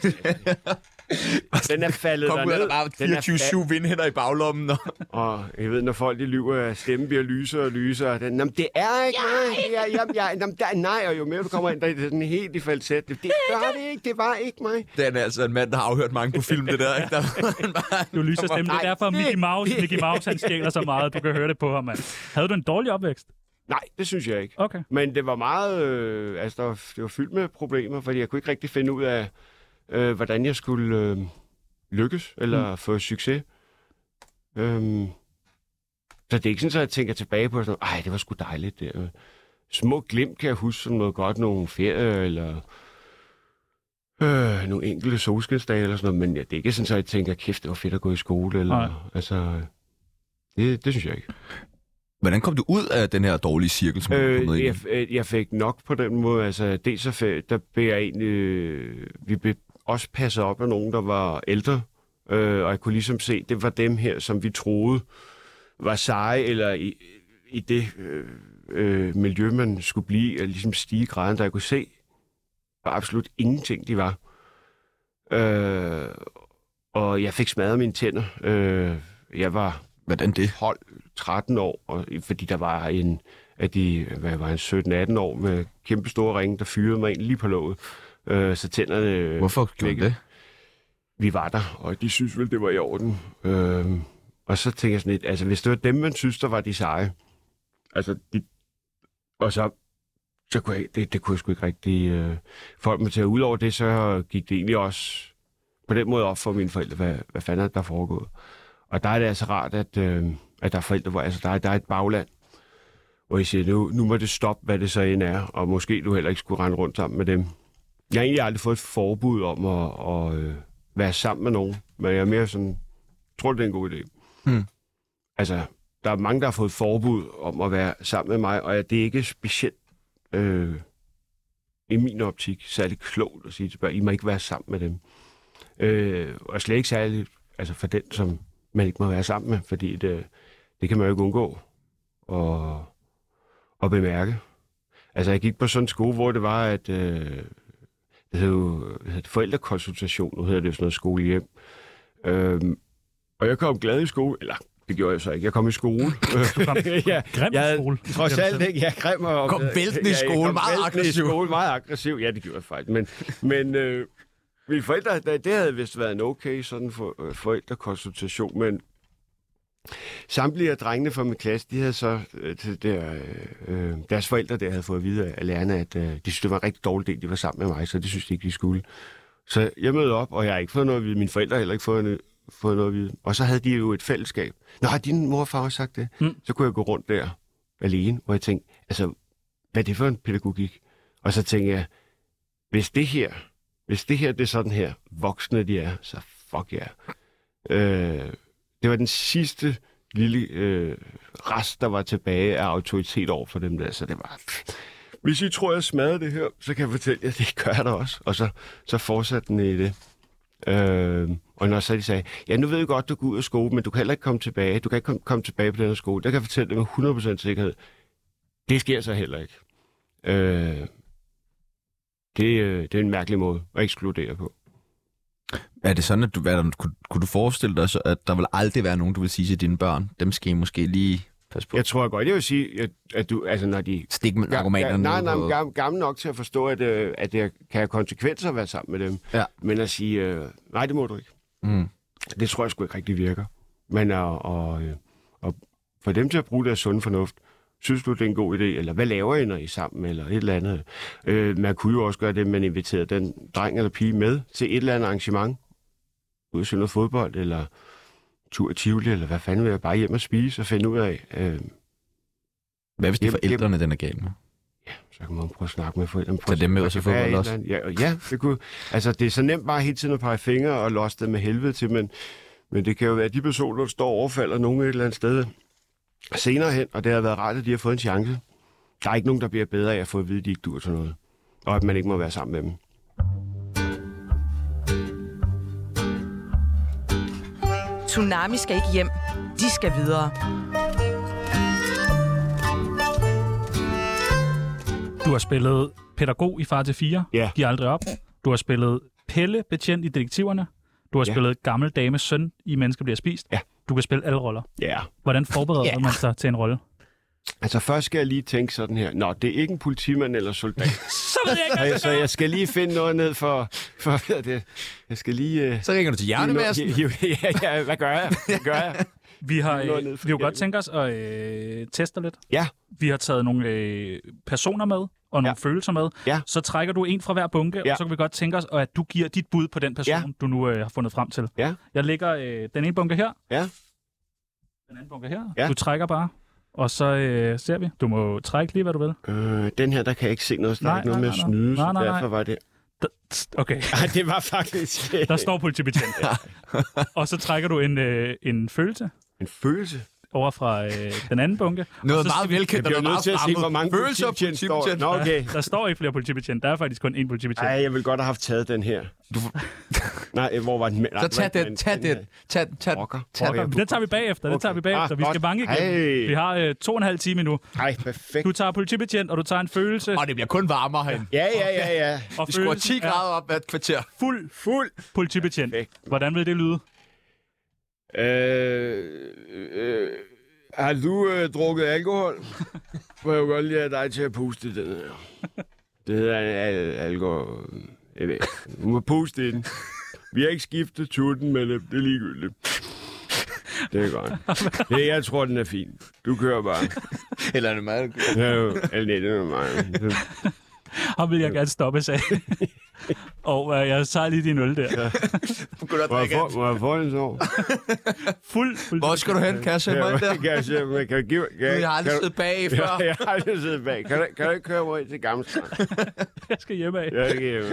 Den er faldet Kom ud af derned. der bare Den er fa- 24-7 vindhænder i baglommen. Og... Og jeg ved, når folk de lyver, at stemmen bliver lysere og lysere. og Den, jamen, det er ikke mig. Det er, jamen, jeg, jamen, der, nej, og jo mere du kommer ind, der er det sådan helt i falset. Det, det var det ikke. Det var ikke mig. Den er altså en mand, der har afhørt mange på film, det der. Ikke? Der, Du lyser stemme. Det er Nej, derfor, det- Mickey Mouse, Mickey Mouse han stjæler så meget. Du kan høre det på ham, mand. Havde du en dårlig opvækst? Nej, det synes jeg ikke. Okay. Men det var meget... Øh, altså, der, var- det var fyldt med problemer, fordi jeg kunne ikke rigtig finde ud af, øh, hvordan jeg skulle øh, lykkes eller mm. få succes. Øhm, så det er ikke sådan, at jeg tænker tilbage på, sådan, ej, det var sgu dejligt. Det. Små glimt kan jeg huske som noget godt, nogle ferie eller øh, nogle enkelte solskinsdage eller sådan noget, men ja, det er ikke sådan, at jeg tænker, kæft, det var fedt at gå i skole. Eller, Nej. altså, det, det synes jeg ikke. Hvordan kom du ud af den her dårlige cirkel, som du kom ned Øh, i? jeg, øh, jeg fik nok på den måde. Altså, dels så fik, der blev jeg egentlig... øh, Vi blev også passet op af nogen, der var ældre. Øh, og jeg kunne ligesom se, det var dem her, som vi troede var seje, eller i, i det øh, øh, miljø, man skulle blive, og ligesom stige graden, der jeg kunne se, var absolut ingenting, de var. Øh, og jeg fik smadret mine tænder. Øh, jeg var Hvordan det? 12-13 år, og, fordi der var en af de hvad var han, 17-18 år med kæmpe store ringe, der fyrede mig ind lige på låget. Øh, så tænderne, øh, Hvorfor gjorde du knækkede. det? vi var der, og de synes vel, det var i orden. Øh, og så tænker jeg sådan lidt, altså hvis det var dem, man synes, der var de seje, altså de, og så, så kunne jeg, det, det kunne jeg sgu ikke rigtig øh, folk mig til at udover det, så gik det egentlig også på den måde op for mine forældre, hvad, hvad fanden er det, der er foregået. Og der er det altså rart, at, øh, at der er forældre, hvor altså, der, er, der er et bagland, hvor I siger, nu, nu må det stoppe, hvad det så end er, og måske du heller ikke skulle rende rundt sammen med dem. Jeg har egentlig aldrig fået et forbud om at, at øh, være sammen med nogen, men jeg er mere sådan, tror du, det er en god idé? Hmm. Altså, der er mange, der har fået forbud om at være sammen med mig, og det er ikke specielt, øh, i min optik, særlig klogt at sige til børn, I må ikke være sammen med dem. Øh, og slet ikke særligt altså for den, som man ikke må være sammen med, fordi det, det kan man jo ikke undgå at, at bemærke. Altså, jeg gik på sådan en skole, hvor det var, at øh, det hed jo hvad hed det, forældrekonsultation, nu hedder det jo sådan noget skolehjem. Øhm, og jeg kom glad i skole, eller det gjorde jeg så ikke, jeg kom i skole. kom ja, Grim jeg havde- skole. Trods alt ikke, jeg er grim og... Kom væltende i Ja, jeg skole, kom meget væltende aggressiv. I skole, meget aggressiv, ja, det gjorde jeg faktisk. Men, men øh, mine forældre, da- det havde vist været en okay sådan for, øh, forældrekonsultation, men samtlige af drengene fra min klasse, de havde så øh, til der, øh, øh, deres forældre der havde fået at vide af lærerne, at øh, de syntes, det var en rigtig dårlig del, de var sammen med mig, så det synes de ikke, de skulle. Så jeg mødte op, og jeg har ikke fået noget at vide. Mine forældre har heller ikke fået, en- fået noget at vide. Og så havde de jo et fællesskab. Nå, har din mor og far også sagt det? Mm. Så kunne jeg gå rundt der alene, hvor jeg tænkte, altså, hvad er det for en pædagogik? Og så tænkte jeg, hvis det her, hvis det her, det er sådan her, voksne de er, så fuck jer. Yeah. Øh, det var den sidste lille øh, rest, der var tilbage af autoritet over for dem der, så det var... Hvis I tror, jeg smadrer det her, så kan jeg fortælle jer, at det gør jeg da også. Og så, så fortsatte den i det. Øh, og når så de sagde, ja, nu ved jeg godt, du går ud af skole, men du kan heller ikke komme tilbage. Du kan ikke komme, komme tilbage på den her skole. Der kan jeg fortælle dig med 100% sikkerhed. Det sker så heller ikke. Øh, det, øh, det er en mærkelig måde at ekskludere på. Er det sådan, at du, hvad, er der- kunne, kunne du forestille dig, så, at der vil aldrig være nogen, du vil sige til dine børn? Dem skal I måske lige passe på. Jeg tror godt, jeg vil sige, at, at du, altså, når de Stik med narkomanerne. Nej, nej, ned på- nej gammel, gammel nok til at forstå, at, øh, at det kan have konsekvenser at være sammen med dem. Ja. Men at sige, øh, nej, det må du ikke. Mm. Det tror jeg sgu ikke rigtig virker. Men og, og, øh, og for dem til at bruge deres sunde fornuft, synes du, det er en god idé, eller hvad laver I, når I er sammen, eller et eller andet. Øh, man kunne jo også gøre det, at man inviterede den dreng eller pige med til et eller andet arrangement. Ud og se noget fodbold, eller tur i Tivoli, eller hvad fanden vil jeg bare hjem og spise og finde ud af. Øh, Hvad hvis det er Jamen, forældrene, den er gal med? så kan man prøve at snakke med forældrene. Prøve Tag at- dem med der ud til kan være fodbold et også? eller andet. Ja, og ja, det kunne. Altså, det er så nemt bare hele tiden at pege fingre og losse dem med helvede til, men, men det kan jo være, at de personer, der står og overfalder nogen et eller andet sted senere hen, og det har været rart, at de har fået en chance. Der er ikke nogen, der bliver bedre af at få at vide, at de ikke dur til noget. Og at man ikke må være sammen med dem. Tsunami skal ikke hjem. De skal videre. Du har spillet pædagog i Far til 4. Ja. Giv aldrig op. Du har spillet Pelle, betjent i Detektiverne. Du har Ja. spillet Gammel Dames Søn i Mennesker bliver spist. Ja. Du kan spille alle roller. Ja. Yeah. Hvordan forbereder man sig til en rolle? Altså, først skal jeg lige tænke sådan her. Nå, det er ikke en politimand eller soldat. Så ved jeg ikke, så, hvad jeg, jeg så skal gøre. jeg skal lige finde noget ned for... for hvad er det? Jeg skal lige... Øh, Så ringer du til Hjernemassen. hive noget- hive- ja, ja, hvad gør jeg? Hvad gør jeg? Vi har Noget øh, ned vi for kunne godt kirken. tænke os at øh, teste lidt. Ja. Vi har taget nogle øh, personer med og nogle følelser med. Ja. Så trækker du en fra hver bunke, Ja. og så kan vi godt tænke os, og at du giver dit bud på den person, Ja. du nu øh, har fundet frem til. Ja. Jeg lægger øh, den ene bunke her, Ja. den anden bunke her. Ja. Du trækker bare, og så øh, ser vi. Du må trække lige, hvad du vil. Øh, den her, der kan jeg ikke se noget. så Der er Nej, ikke noget nej, med at nej, nej. snyde, Nej, så nej, nej. derfor var det... D- okay, Ej, det var faktisk... der står politibetjent. og så trækker du en, øh, en følelse en følelse. over fra øh, den anden bunke. Noget så meget skal- velkendt, Jeg bliver og noget nødt til at meget se, fremmed. hvor mange Følelser og politibetjent står. politibetjent. Nå, okay. Der står ikke flere politibetjent. Der er faktisk kun én politibetjent. Ej, jeg ville godt have haft taget den her. Du får- Nej, hvor var den? Nej, Så det var tag ikke den, tag den, tag den, tag den. Rocker. Tag Rocker. den. Den tager vi bagefter, okay. den Okay. tager vi bagefter. Ah, vi skal godt. banke igennem. Ej. Vi har øh, to og en halv time endnu. Ej, perfekt. Du tager politibetjent, og du tager en følelse. Og det bliver kun varmere herinde. Ja, ja, ja, ja. Og Vi skruer følelsen 10 er grader op hvert kvarter. fuld Fuld. politibetjent. Perfekt. Hvordan vil det lyde? Øh, øh, har du øh, drukket alkohol? Må jeg jo godt lige have dig til at puste i den her. Det hedder al- alkohol. Jeg ved. ikke. Du må puste i den. Vi har ikke skiftet tutten, men øh, det er ligegyldigt. Det er godt. Det, jeg tror, den er fin. Du kører bare. Eller er det meget Det er jo alene med mig. Og vil jeg gerne stoppe, sagde jeg. Og øh, jeg tager lige din øl der. Må jeg få, må jeg få en sår? Fuld Hvor politi- skal du hen, kasse? Kan Ja, jeg, der? kan jeg, se- kan jeg, kan jeg, give- kan jeg, Jeg har aldrig kan du- siddet bag før. Ja, jeg har aldrig siddet bag. Kan du, kan du ikke køre mig ind til Gamle Strand? jeg skal hjem af. Jeg kan hjemme.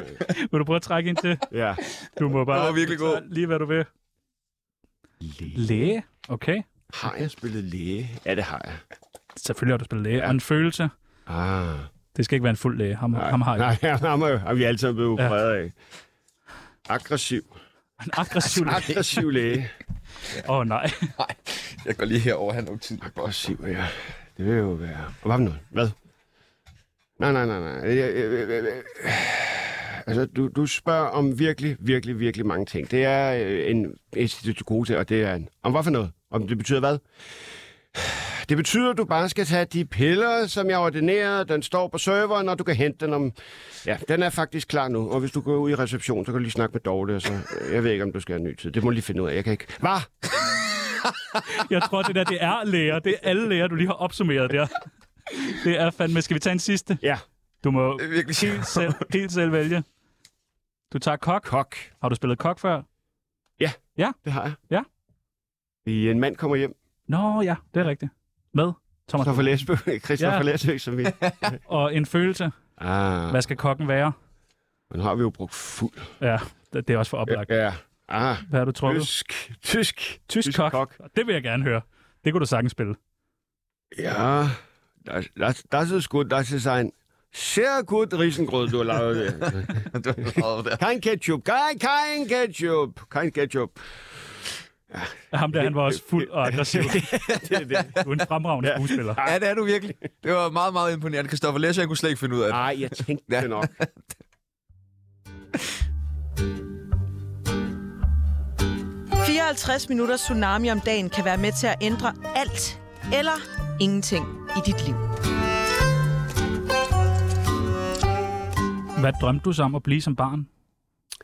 Vil du prøve at trække ind til? Ja. Du må bare Den var virkelig du tager god. lige, hvad du vil. Læge. Okay. Har jeg spillet læge? Ja, det har jeg. Selvfølgelig har du spillet læge. Ja. Og en følelse. Ah, Det skal ikke være en fuld læge. Ham, ham har jeg. Nej, ham har jo- ham er vi alle sammen blevet opereret af. Aggressiv. En aggressiv læge. Aggressiv læge. Åh oh, nej. Nej, jeg går lige herover, han har tid. Aggressiv, ja. Det vil jo være... Og Hvad for noget? Hvad? Nej, nej, nej, nej. Jeg- jeg- jeg- jeg- jeg- Altså, du, du spørger om virkelig, virkelig, virkelig mange ting. Det er øh, en institut gode til, og det er en... Om hvad for noget? Om det betyder hvad? Det betyder, at du bare skal tage de piller, som jeg ordinerede. Den står på serveren, og du kan hente den om... Ja, den er faktisk klar nu. Og hvis du går ud i reception, så kan du lige snakke med Dorte, og så... Jeg ved ikke, om du skal have en ny tid. Det må du lige finde ud af. Jeg kan ikke... Hvad? Jeg tror, det der, det er læger. Det er alle læger, du lige har opsummeret der. Det er fandme... Skal vi tage en sidste? Ja. Du må Det er virkelig helt selv, helt selv vælge. Du tager kok. Kok. Har du spillet kok før? Det har jeg. Ja. I En mand kommer hjem. Nå ja, det er rigtigt. Med Thomas. Christoffer Læsbø. Christoffer Ja. ja. Læsbø, som vi... Og en følelse. Ah, Hvad skal kokken være? nu har vi jo brugt fuld. Ja, det det er også for oplagt. Ja. Ah, Hvad har du trukket? Tysk, tysk. Tysk. Tysk kok. Det vil jeg gerne høre. Det kunne du sagtens spille. Ja. Das, das, das ist gut. Das ist ein sehr gut Riesengröd, du Laute. Du har der. kein Ketchup. Kein, kein Ketchup. Kein Ketchup. Ham der, han var også fuld og aggressiv. Det er det. Du er en fremragende skuespiller. Ja, det er du virkelig. Det var meget, meget imponerende. Christoffer Læsø, jeg kunne slet ikke finde ud af det. Nej, jeg tænkte Ja. det nok. Mm. 54 minutter tsunami om dagen kan være med til at ændre alt eller ingenting i dit liv. Hvad drømte du så om at blive som barn?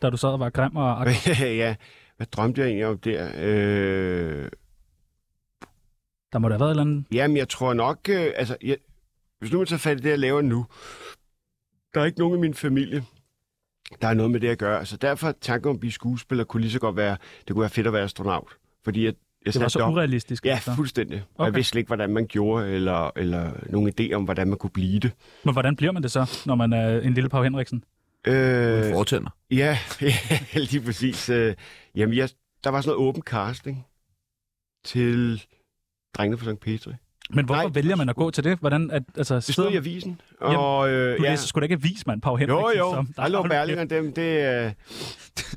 Da du sad og var grim og aggressiv? ja, Hvad drømte jeg egentlig om der? Øh, Der må da have været et eller andet... jamen, jeg tror nok... Øh, altså, jeg, hvis nu man tager fat i det, jeg laver nu, der er ikke nogen i min familie, der er noget med det at gøre. Så derfor tanken om at blive skuespiller kunne lige så godt være, det kunne være fedt at være astronaut. Fordi jeg, jeg Det var satte så op- urealistisk. Ja, altså. fuldstændig. Okay. Jeg Okay. vidste slet ikke, hvordan man gjorde, eller, eller nogen idé om, hvordan man kunne blive det. Men hvordan bliver man det så, når man er en lille Pau Henriksen? Øh, Øh, fortænder. ja, ja, lige præcis. Øh, jamen, jeg, der var sådan noget åben casting til drengene fra St. Petri. Men hvorfor Nej, vælger man at gå til det? Hvordan, at, altså, Det stod sidder, i jeg, avisen, Jamen, og øh, du ja. ja. læser sgu da ikke avis, mand, Pau Jo, Henriksen. jo. som- Der lå Hold Berlinger, dem, det, øh,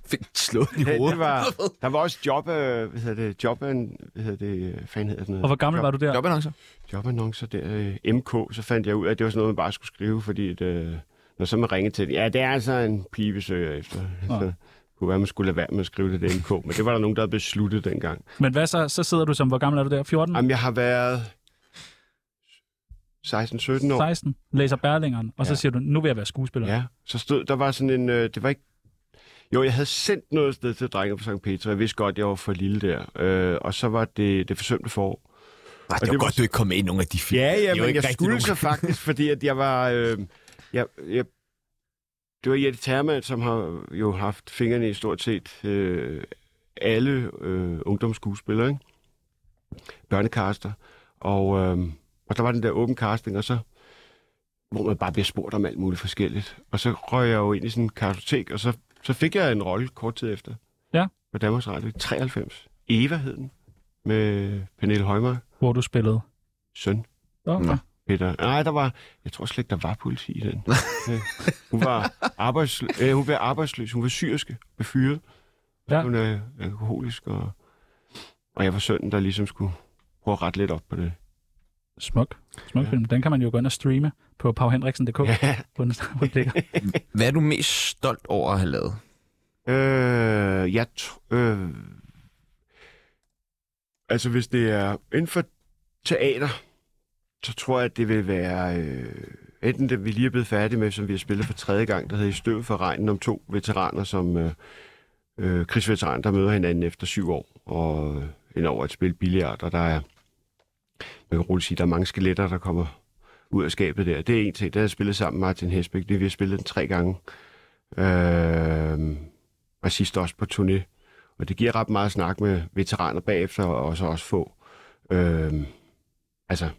Fik slået i det, hovedet. det var, der var også job, øh, hvad hedder det, job, hvad hedder det, øh, fanden hedder sådan kæft. noget. Og hvor gammel var du der? Jobannoncer. jobannoncer der, øh, MK, så fandt jeg ud af, at det var sådan noget, man bare skulle skrive, fordi at, øh, når så man ringede til den, ja, det er altså en pige, vi søger efter. Nå. Så kunne være, man skulle lade være med at skrive det der MK, men det var der nogen, der havde besluttet dengang. Men hvad så? Så sidder du som, hvor gammel er du der? 14? Jamen, jeg har været 16-17 år. 16? Læser Berlingeren, og så Ja. siger du, nu vil jeg være skuespiller. Ja, så stod, der var sådan en, øh, det var ikke, jo, jeg havde sendt noget sted til drenge på St. Peter, jeg vidste godt, jeg var for lille der, øh, og så var det det forsømte forår. Ej, det det var var godt, du ikke kom med i nogen af de film. Ja, Det er ja, jo men ikke jeg rigtig skulle nogen- så faktisk, fordi at jeg var... Øh, jeg, jeg, det var Jette Termann, som har jo haft fingrene i stort set øh, alle øh, ungdomsskuespillere, ikke? børnekaster. Og, øh, og der var den der åben casting, og så hvor man bare bliver spurgt om alt muligt forskelligt. Og så røg jeg jo ind i sådan en kartotek, og så, så fik jeg en rolle kort tid efter. Ja. På Danmarks Radio i 93. Eva hed den, med Pernille Højmark, Hvor du spillede. søn. Okay. Nå. Peter. Nej, der var... Jeg tror slet ikke, der var politi i den. Øh, hun, var arbejdsløs, øh, hun blev arbejdsløs. Hun var syriske med fyret. Ja. Ja. Hun er alkoholisk, og, og jeg var sønnen, der ligesom skulle prøve at rette lidt op på det. Smuk. Smuk Ja. film. Den kan man jo gå ind og streame på pauhenriksen.dk. Ja. Ja. På den, hvor den ligger. Hvad er du mest stolt over at have lavet? Øh, jeg tr- øh, altså, hvis det er inden for teater, så tror jeg, at det vil være... Øh, enten det, vi lige er blevet færdige med, som vi har spillet for tredje gang, der hedder I støv for regnen om to veteraner, som øh, øh, krigsveteraner, der møder hinanden efter syv år, og øh, ind over et spil billiard, og der er... Man kan roligt sige, der er mange skeletter, der kommer ud af skabet der. Det er en ting, der har jeg spillet sammen med Martin Hesbæk. Det, vi har spillet den tre gange. Øh, og sidst også på turné. Og det giver ret meget snak med veteraner bagefter, og så også få øh, altså,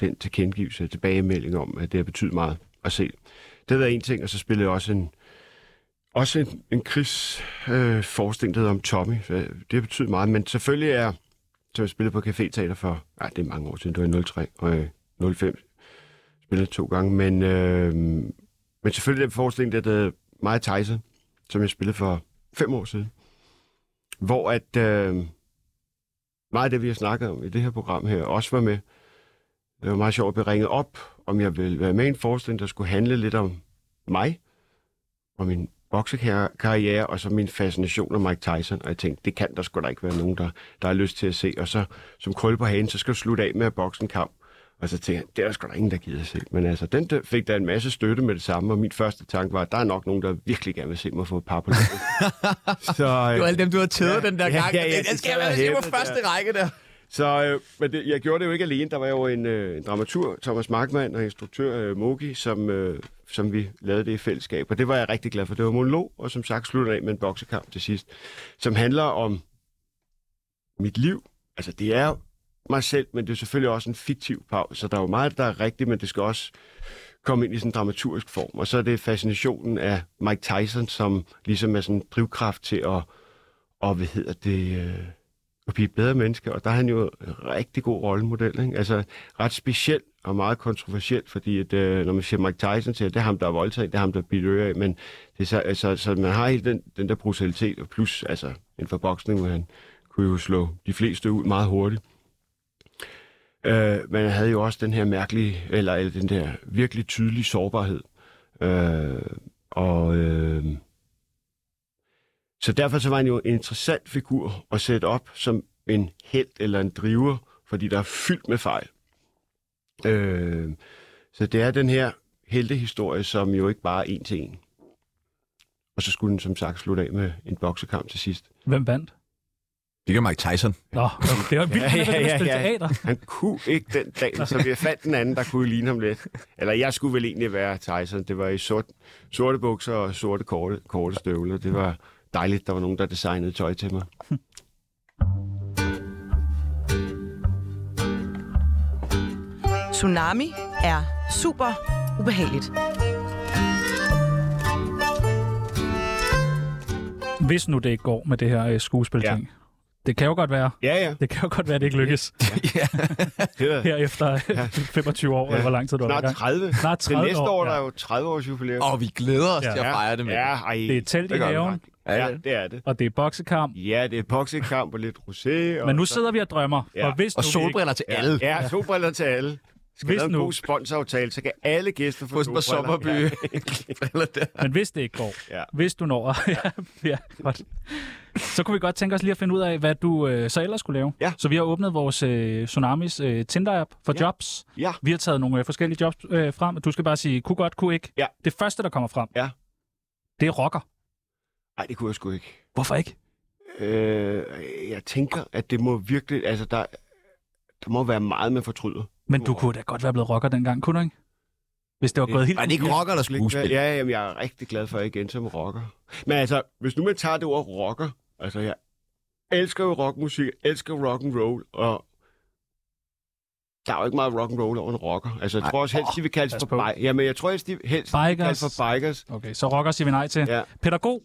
den tilkendegivelse, tilbagemelding om, at det har betydet meget at se. Det har været en ting, og så spillede jeg også en, også en, en krigsforestilling, øh, forestilling, der hedder om Tommy. Så Det har betydet meget, men selvfølgelig er som jeg spillede på Café Teater for, nej, det er mange år siden, det var i 03 og øh, 05, spillede to gange, men, øh, men selvfølgelig den forestilling, der hedder Maja Theise, som jeg spillede for fem år siden, hvor at øh, meget af det, vi har snakket om i det her program her, også var med. Det var meget sjovt at blive ringet op, om jeg ville være med i en forestilling, der skulle handle lidt om mig, og min boksekarriere, og så min fascination af Mike Tyson. Og jeg tænkte, det kan der sgu da ikke være nogen, der, der har lyst til at se. Og så som krølle på hagen, så skal du slutte af med at bokse en kamp. Og så tænkte jeg, det er der sgu da ingen, der gider at se. Men altså, den der fik da en masse støtte med det samme, og min første tanke var, at der er nok nogen, der virkelig gerne vil se mig få et par på låret. så, øh, alle dem, du har tædet Ja. den der Ja, gang. ja, ja, Den det skal jeg være sad hjemme på hævet, første række der. Så øh, men det, jeg gjorde det jo ikke alene. Der var jo en, øh, en dramatur, Thomas Markmann, og instruktør øh, Mogi, som, øh, som vi lavede det i fællesskab. Og det var jeg rigtig glad for. Det var monolog, og som sagt slutter af med en boksekamp til sidst, som handler om mit liv. Altså, det er mig selv, men det er selvfølgelig også en fiktiv pause. Så der er jo meget, der er rigtigt, men det skal også komme ind i sådan en dramaturgisk form. Og så er det fascinationen af Mike Tyson, som ligesom er sådan en drivkraft til at, og hvad hedder det, øh, at blive et bedre menneske, og der er han jo en rigtig god rollemodel. Ikke? Altså ret speciel og meget kontroversiel, fordi at, øh, når man siger Mike Tyson, siger, det er ham, der er voldtaget, det er ham, der bliver ører af, men det er så, altså, så man har hele den, den der brutalitet, og plus altså, inden for boksning, hvor han kunne jo slå de fleste ud meget hurtigt. Øh, men han havde jo også den her mærkelige, eller, eller den der virkelig tydelige sårbarhed. Øh, og øh, så derfor så var han jo en interessant figur at sætte op som en held eller en driver, fordi der er fyldt med fejl. Øh, så det er den her heltehistorie, som jo ikke bare er en til en. Og så skulle den som sagt slutte af med en boksekamp til sidst. Hvem vandt? Det gør Mike Tyson. Nå, det var vildt, at han begyndte at spille teater. Han kunne ikke den dag, så vi fandt den anden, der kunne ligne ham lidt. Eller jeg skulle vel egentlig være Tyson. Det var i sort, sorte bukser og sorte korte, korte støvler. Det var dejligt, der var nogen, der designede tøj til mig. Tsunami er super ubehageligt. Hvis nu det ikke går med det her øh, skuespilting. Ja. Det kan jo godt være. Ja, ja. Det kan jo godt være, at det ikke lykkes Det var her efter 25 år, eller hvor lang tid du har været snart i gang. 30. Snart 30 det næste år, år, der ja. er jo 30 års jubilæum. Og vi glæder os ja. Ja. til at fejre det med. ja, ej, Det er telt i det gør vi haven. nok. Ja. Ja, det er det. Og det er boksekamp. Ja, det er boksekamp og lidt rosé. Og Men nu så- sidder vi og drømmer. Ja. Og hvis Og nu vi ikke- solbriller til Ja, alle. ja solbriller til alle. Skal vi Hvis lave en nu- god sponsoraftale, så kan alle gæster få På på solbriller. Sommerby. Briller der. Men hvis det ikke går, Ja. ja. hvis du når, ja, ja, godt. så kunne vi godt tænke os lige at finde ud af, hvad du øh, så ellers skulle lave. Ja. Så vi har åbnet vores øh, Tsunamis øh, Tinder-app for ja. jobs. Ja. Vi har taget nogle øh, forskellige jobs øh, frem, og du skal bare sige, kunne godt, kunne ikke. Ja. Det første, der kommer frem, Ja. det er rocker. Nej, det kunne jeg sgu ikke. Hvorfor ikke? Øh, jeg tænker, at det må virkelig... Altså, der, der må være meget, man fortryder. Men du kunne da godt være blevet rocker dengang, kunne du ikke? Hvis det var Uh. Det- gået helt... Var det ikke rocker eller skuespil? Ja, jamen, jeg er rigtig glad for, at jeg igen som rocker. Men altså, hvis nu man tager det ord rocker... Altså, jeg elsker jo rockmusik, elsker rock and roll, og der er jo ikke meget rock and roll over en rocker. Altså, jeg Nej. tror også helst, de vil kaldes Pas for på. bikers. Jamen, jeg tror helst, de helst de vil kaldes Bikers. for bikers. Okay, så rocker siger vi nej til. Ja. Pædagog.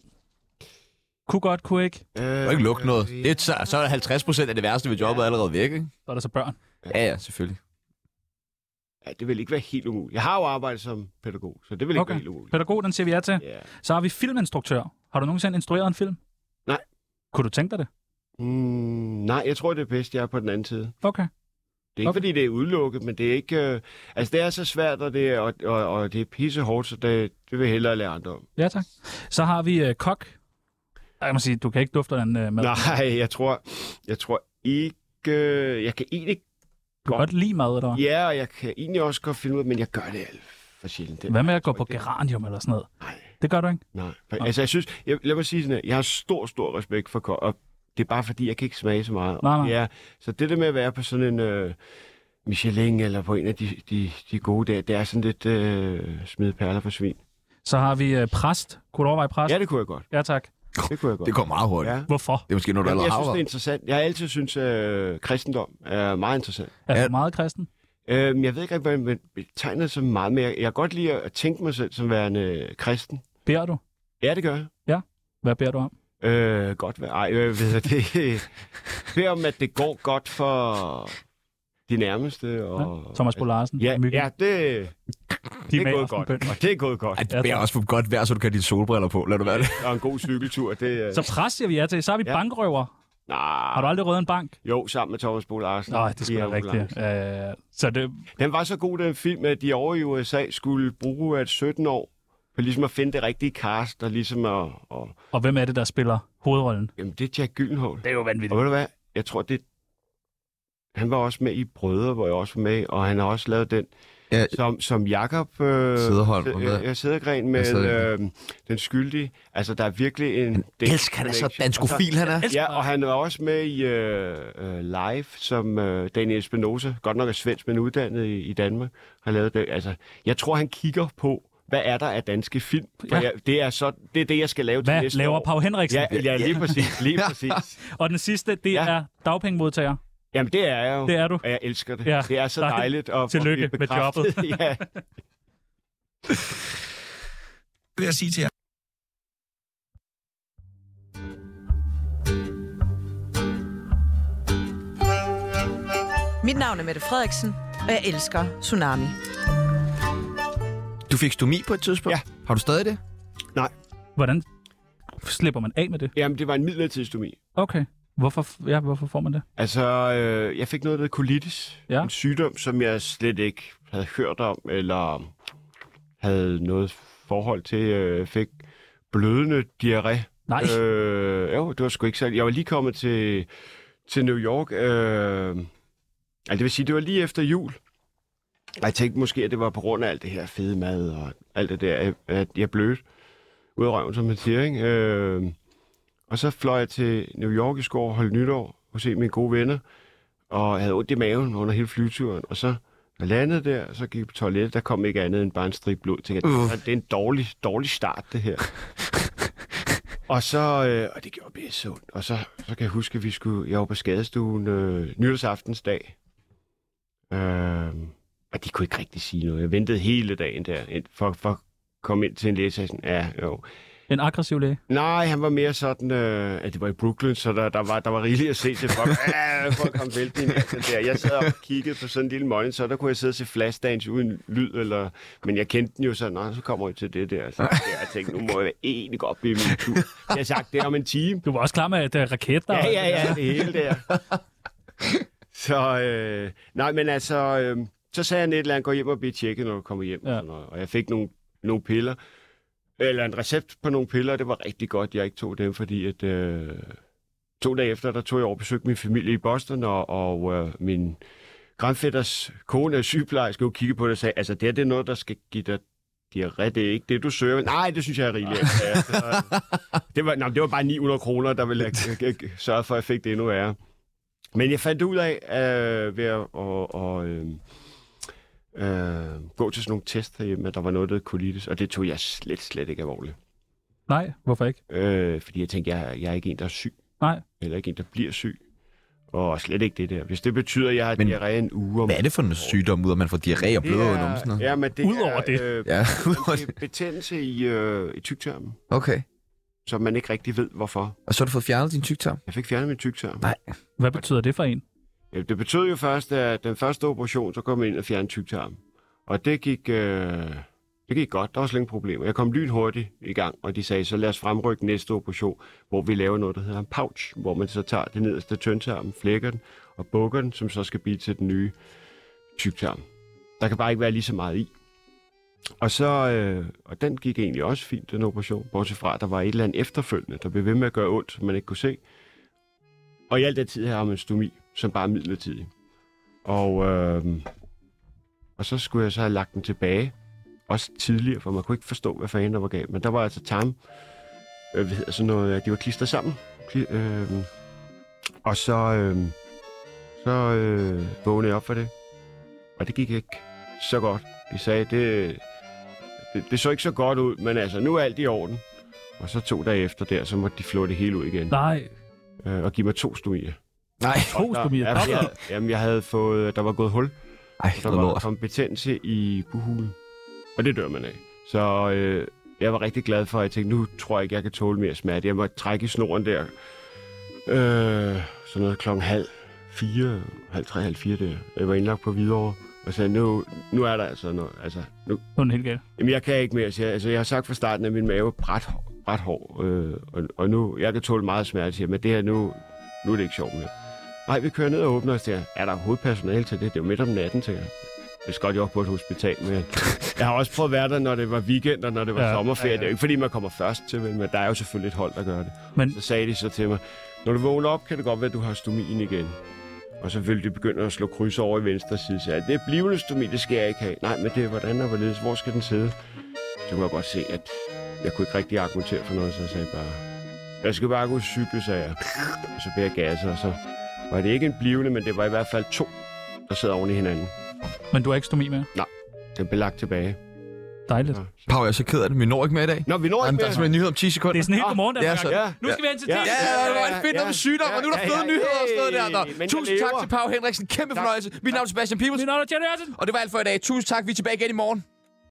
Kunne godt, kunne ikke. Du Øh, kan ikke lukke noget. øh, Det er, så, så er 50 procent af det værste ved jobbet allerede væk, ikke? Så er der så børn. Ja, ja, selvfølgelig. Ja, det vil ikke være helt umuligt. Jeg har jo arbejdet som pædagog, så det vil ikke Okay. være helt umuligt. Pædagog, den siger vi ja til. Ja. Så har vi filminstruktør. Har du nogensinde instrueret en film? Nej. Kunne du tænke dig det? Mm, nej, jeg tror, det er bedst, jeg er på den anden side. Okay. Det er ikke, Okay. fordi det er udelukket, men det er ikke... Øh, altså, det er så svært, og det er, og, og, og det er pissehårdt, så det, det vil jeg hellere lære andre om. Ja, tak. Så har vi øh, kok. Ej, Jeg må sige, du kan ikke dufte den øh, mad. Du Nej, jeg tror, jeg tror ikke... øh, Jeg kan egentlig... kan godt lide mad, eller hvad? Ja, og jeg kan egentlig også godt finde ud af, men jeg gør det alt for sjældent. Det, Hvad med at gå jeg tror på ikke, det- geranium eller sådan noget? Nej. Det gør du ikke? Nej, for, altså jeg synes, jeg, lad mig sige sådan her, jeg har stor, stor respekt for kok, og det er bare fordi, jeg kan ikke smage så meget. Nej, nej. Ja, så det der med at være på sådan en øh, Michelin eller på en af de, de, de gode der, det er sådan lidt øh, smid perler for svin. Så har vi øh, præst. Kunne du overveje præst? Ja, det kunne jeg godt. ja tak. Det kunne jeg godt. Det går meget hurtigt. Ja. Hvorfor? Det er måske noget, du Jamen, allerede jeg har synes, det er været. interessant. Jeg har altid synes øh, kristendom er meget interessant. Er Ja. du meget kristen? Øhm, jeg ved ikke rigtig, hvad man betegner det så meget, men jeg, jeg kan godt lide at tænke mig selv som værende øh, kristen. Bærer du? Ja, det gør jeg. Hvad bærer du om? Øh, godt være. Ej, øh, ved jeg det. Bed om, at det går godt for de nærmeste. Og... Ja. Thomas Bo Larsen? Ja, Myggen? ja det, det er maler gået sådan godt. bøn. Og det er gået godt. Ej, det bærer også for godt vejr, så du kan have dine solbriller på. Lad du være det. Og en god cykeltur. Det, øh... Så præst siger vi ja til. Så har vi Ja. ja. bankrøver. Har nah, du aldrig røvet en bank? jo, sammen med Thomas Bo Larsen. Nej, Ah. det I skulle være ambulance. rigtigt. Øh, så det, Den var så god, den film, at de over i USA skulle bruge at 17 år for ligesom at finde det rigtige cast, og ligesom at... Og, og hvem er det, der spiller hovedrollen? jamen, det er Jack Gyllenhaal. Det er jo vanvittigt. Og ved du hvad? Jeg tror, det... Han var også med i Brødre, hvor jeg også var med, og han har også lavet den, Ja. som, som Jakob øh, Sederholm, og hvad? jeg, jeg Sædergren Ja, med øh, Sædergren. den skyldige. Altså, der er virkelig en... Jeg elsker, han er så danskofil, han er. Ja, og han var også med i øh, øh, Live, som øh, Daniel Spinoza, godt nok er svensk, men uddannet i, i Danmark, har lavet det. Altså, jeg tror, han kigger på, hvad er der af danske film? Ja. Ja. Jeg, det, er så, det er det, jeg skal lave til Hvad næste laver år. Pau Henriksen? Ja, ja, lige præcis. Lige præcis. Og den sidste, det Ja. ja. er dagpengemodtager. Jamen, det er jeg jo. Det er du. Og jeg elsker det. Ja, Ja, det er så dejligt. dejligt. at- at Tillykke blive med bekræftet. ja. Det vil jeg sige til jer. Mit navn er Mette Frederiksen, og jeg elsker Tsunami. Du fik stomi på et tidspunkt. Ja. Har du stadig det? Hvordan slipper man af med det? Jamen, det var en midlertidig stomi. Okay. Hvorfor, ja, hvorfor får man det? Altså, øh, jeg fik noget, der hed colitis. Ja. En sygdom, som jeg slet ikke havde hørt om, eller havde noget forhold til. Øh, fik blødende diarré. Nej. Øh. Øh, jo, det var sgu ikke særligt. Jeg var lige kommet til, til New York. Øh, altså, det vil sige, det var lige efter jul. Og jeg tænkte måske, at det var på grund af alt det her fede mad og alt det der, at jeg blødte ud af røven, som man siger. Ikke? Øh, Og så fløj jeg til New York i skår og holdt nytår og se mine gode venner. Og jeg havde ondt i maven under hele flyturen. Og så når jeg landede der, så gik jeg på toilettet. Der kom ikke andet end bare en strip blod. Tænkte, Uh. uh. det er en dårlig, dårlig start, det her. og så, øh, og det gjorde pisse ondt. Og så, så kan jeg huske, at vi skulle, jeg var på skadestuen øh, nytårsaftensdag. Øh, og de kunne ikke rigtig sige noget. Jeg ventede hele dagen der, ind- for, for at komme ind til en læge, sagde sådan, ja, jo, En aggressiv læge. Nej, han var mere sådan, øh, at det var i Brooklyn, så der, der, var, der var rigeligt at se til folk. Ja, folk kom vældig ind i alt det der. Jeg sad og kiggede på sådan en lille monitor, der kunne jeg sidde og se Flashdance uden lyd, eller, men jeg kendte den jo sådan, nej, så kommer jeg til det der. Så jeg tænkte, nu må jeg egentlig godt blive min tur. Jeg har sagt det er om en time. Du var også klar med, at uh, raketter... Ja, ja, ja, det hele der. Så, øh, nej, men altså, øh, så sagde han et eller andet, gå hjem og blive tjekket, når du kommer hjem. Ja. Ja. Og, sådan noget. og jeg fik nogle, nogle piller, eller en recept på nogle piller, og det var rigtig godt, jeg ikke tog dem, fordi at, øh, to dage efter, der tog jeg over og besøgte min familie i Boston, og, og øh, min grandfætters kone er sygeplejerske, og kigge på det og sagde, altså det her, det er noget, der skal give dig diarré, det er ikke det, du søger. Nej, det synes jeg er rigeligt. Ja, så- det var, nej, det var bare 900 kroner, der ville jeg, jeg, jeg sørge for, at jeg fik det endnu værre. Men jeg fandt ud af, øh, ved at og, og, øh, øh, gå til sådan nogle test herhjemme, at der var noget, der hed colitis, og det tog jeg slet, slet ikke alvorligt. Nej, hvorfor ikke? Øh, fordi jeg tænkte, jeg, jeg er ikke en, der er syg. Nej. Eller ikke en, der bliver syg. Og slet ikke det der. Hvis det betyder, at jeg har Men diarré en uge om... Hvad er det for en sygdom, ud at man får diarré og bløder ud om sådan noget? Ja, men det Udover er, det. Øh, Ja, det er betændelse i, øh, i tygtarmen, okay. som man ikke rigtig ved, hvorfor. Og så har du fået fjernet din tygtarm? Jeg fik fjernet min tygtarm. Nej. Hvad betyder det for en? Ja, Øh, Det betød jo først, at den første operation, så kom jeg ind og fjernede tyktarmen. Og det gik, øh, det gik godt. Der var slet ingen problemer. Jeg kom lynhurtigt i gang, og de sagde, så lad os fremrykke næste operation, hvor vi laver noget, der hedder en pouch, hvor man så tager den nederste tyndtarm, flækker den og bukker den, som så skal blive til den nye tyktarm. Der kan bare ikke være lige så meget i. Og så, øh, og den gik egentlig også fint, den operation, bortset fra, at der var et eller andet efterfølgende, der blev ved med at gøre ondt, som man ikke kunne se. Og i alt den tid her har man stomi, som bare er midlertidig. Og, øh, og så skulle jeg så have lagt den tilbage, også tidligere, for man kunne ikke forstå, hvad fanden der var galt. Men der var altså tarm, øh, hvad hedder sådan noget, øh, de var klistret sammen. Kli- Øh, og så, øh, så øh, vågnede jeg op for det. Og det gik ikke så godt. De sagde, det, det, det så ikke så godt ud, men altså, nu er alt i orden. Og så to dage efter der, så måtte de flå det hele ud igen. Nej, Øh, og give mig to stomier. Nej. to stomier. Jamen, jeg, jamen, jeg havde fået, der var gået hul. Ej, Der noget var der lort. kom betændelse i buhulen. Og det dør man af. Så øh, jeg var rigtig glad for, at jeg tænkte, nu tror jeg ikke, jeg kan tåle mere smerte. Jeg måtte trække i snoren der. Øh, sådan noget klokken halv fire, halv tre, halv fire der. Jeg var indlagt på Hvidovre. Og sagde, nu, nu er der altså noget. Altså, nu, Nu er den helt galt. Jamen, jeg kan ikke mere. siger jeg. altså, jeg har sagt fra starten, at min mave er ret, ret hård. Øh, og, og, nu, jeg kan tåle meget smerte, siger jeg, men det her nu, nu er det ikke sjovt mere. Nej, vi kører ned og åbner os der. Er der overhovedet personale til det? Det er jo midt om natten, til jeg. Hvis godt, jeg var på et hospital, men jeg har også prøvet at være der, når det var weekend og når det var Ja, ja, sommerferie. ja, Ja, ja. ja. Det er jo ikke, fordi man kommer først til, vel, men der er jo selvfølgelig et hold, der gør det. Men- Men... Så sagde de så til mig, når du vågner op, kan det godt være, at du har stomien igen. Og så ville de begynde at slå kryds over i venstre side. Så jeg, det er blivende stomi, det skal jeg ikke have. Nej, men det er hvordan og hvorledes. Hvor skal den sidde? Så kunne jeg godt se, at jeg kunne ikke rigtig argumentere for noget, så jeg sagde bare, jeg skal bare gå og cykle, sagde jeg. Og så blev jeg gasset, og så var det ikke en blivende, men det var i hvert fald to, der sad oven i hinanden. Men du har ikke stomi mere. Den blev lagt tilbage. Dejligt. Nå, så- Pau, jeg er så ked af det. Vi når ikke med i dag. Nå vi når Jamen, ikke der er mere. simpelthen en nyhed om 10 sekunder. Det er sådan helt Ah, godmorgen, der det er er så- gang. Nu skal vi hen til det. Ja, ja, ja, det var en fedt Ja, noget med sygdom, og nu er der ja, fede ja, nyheder og sådan noget der. hey, men der. jeg Tusind tak lever. til Pau Henriksen. Kæmpe Tak. fornøjelse. Mit navn er Sebastian Mit Pibels, navn er Jenny Hansen. og det var alt for i dag. Tusind tak. Vi er tilbage igen i morgen.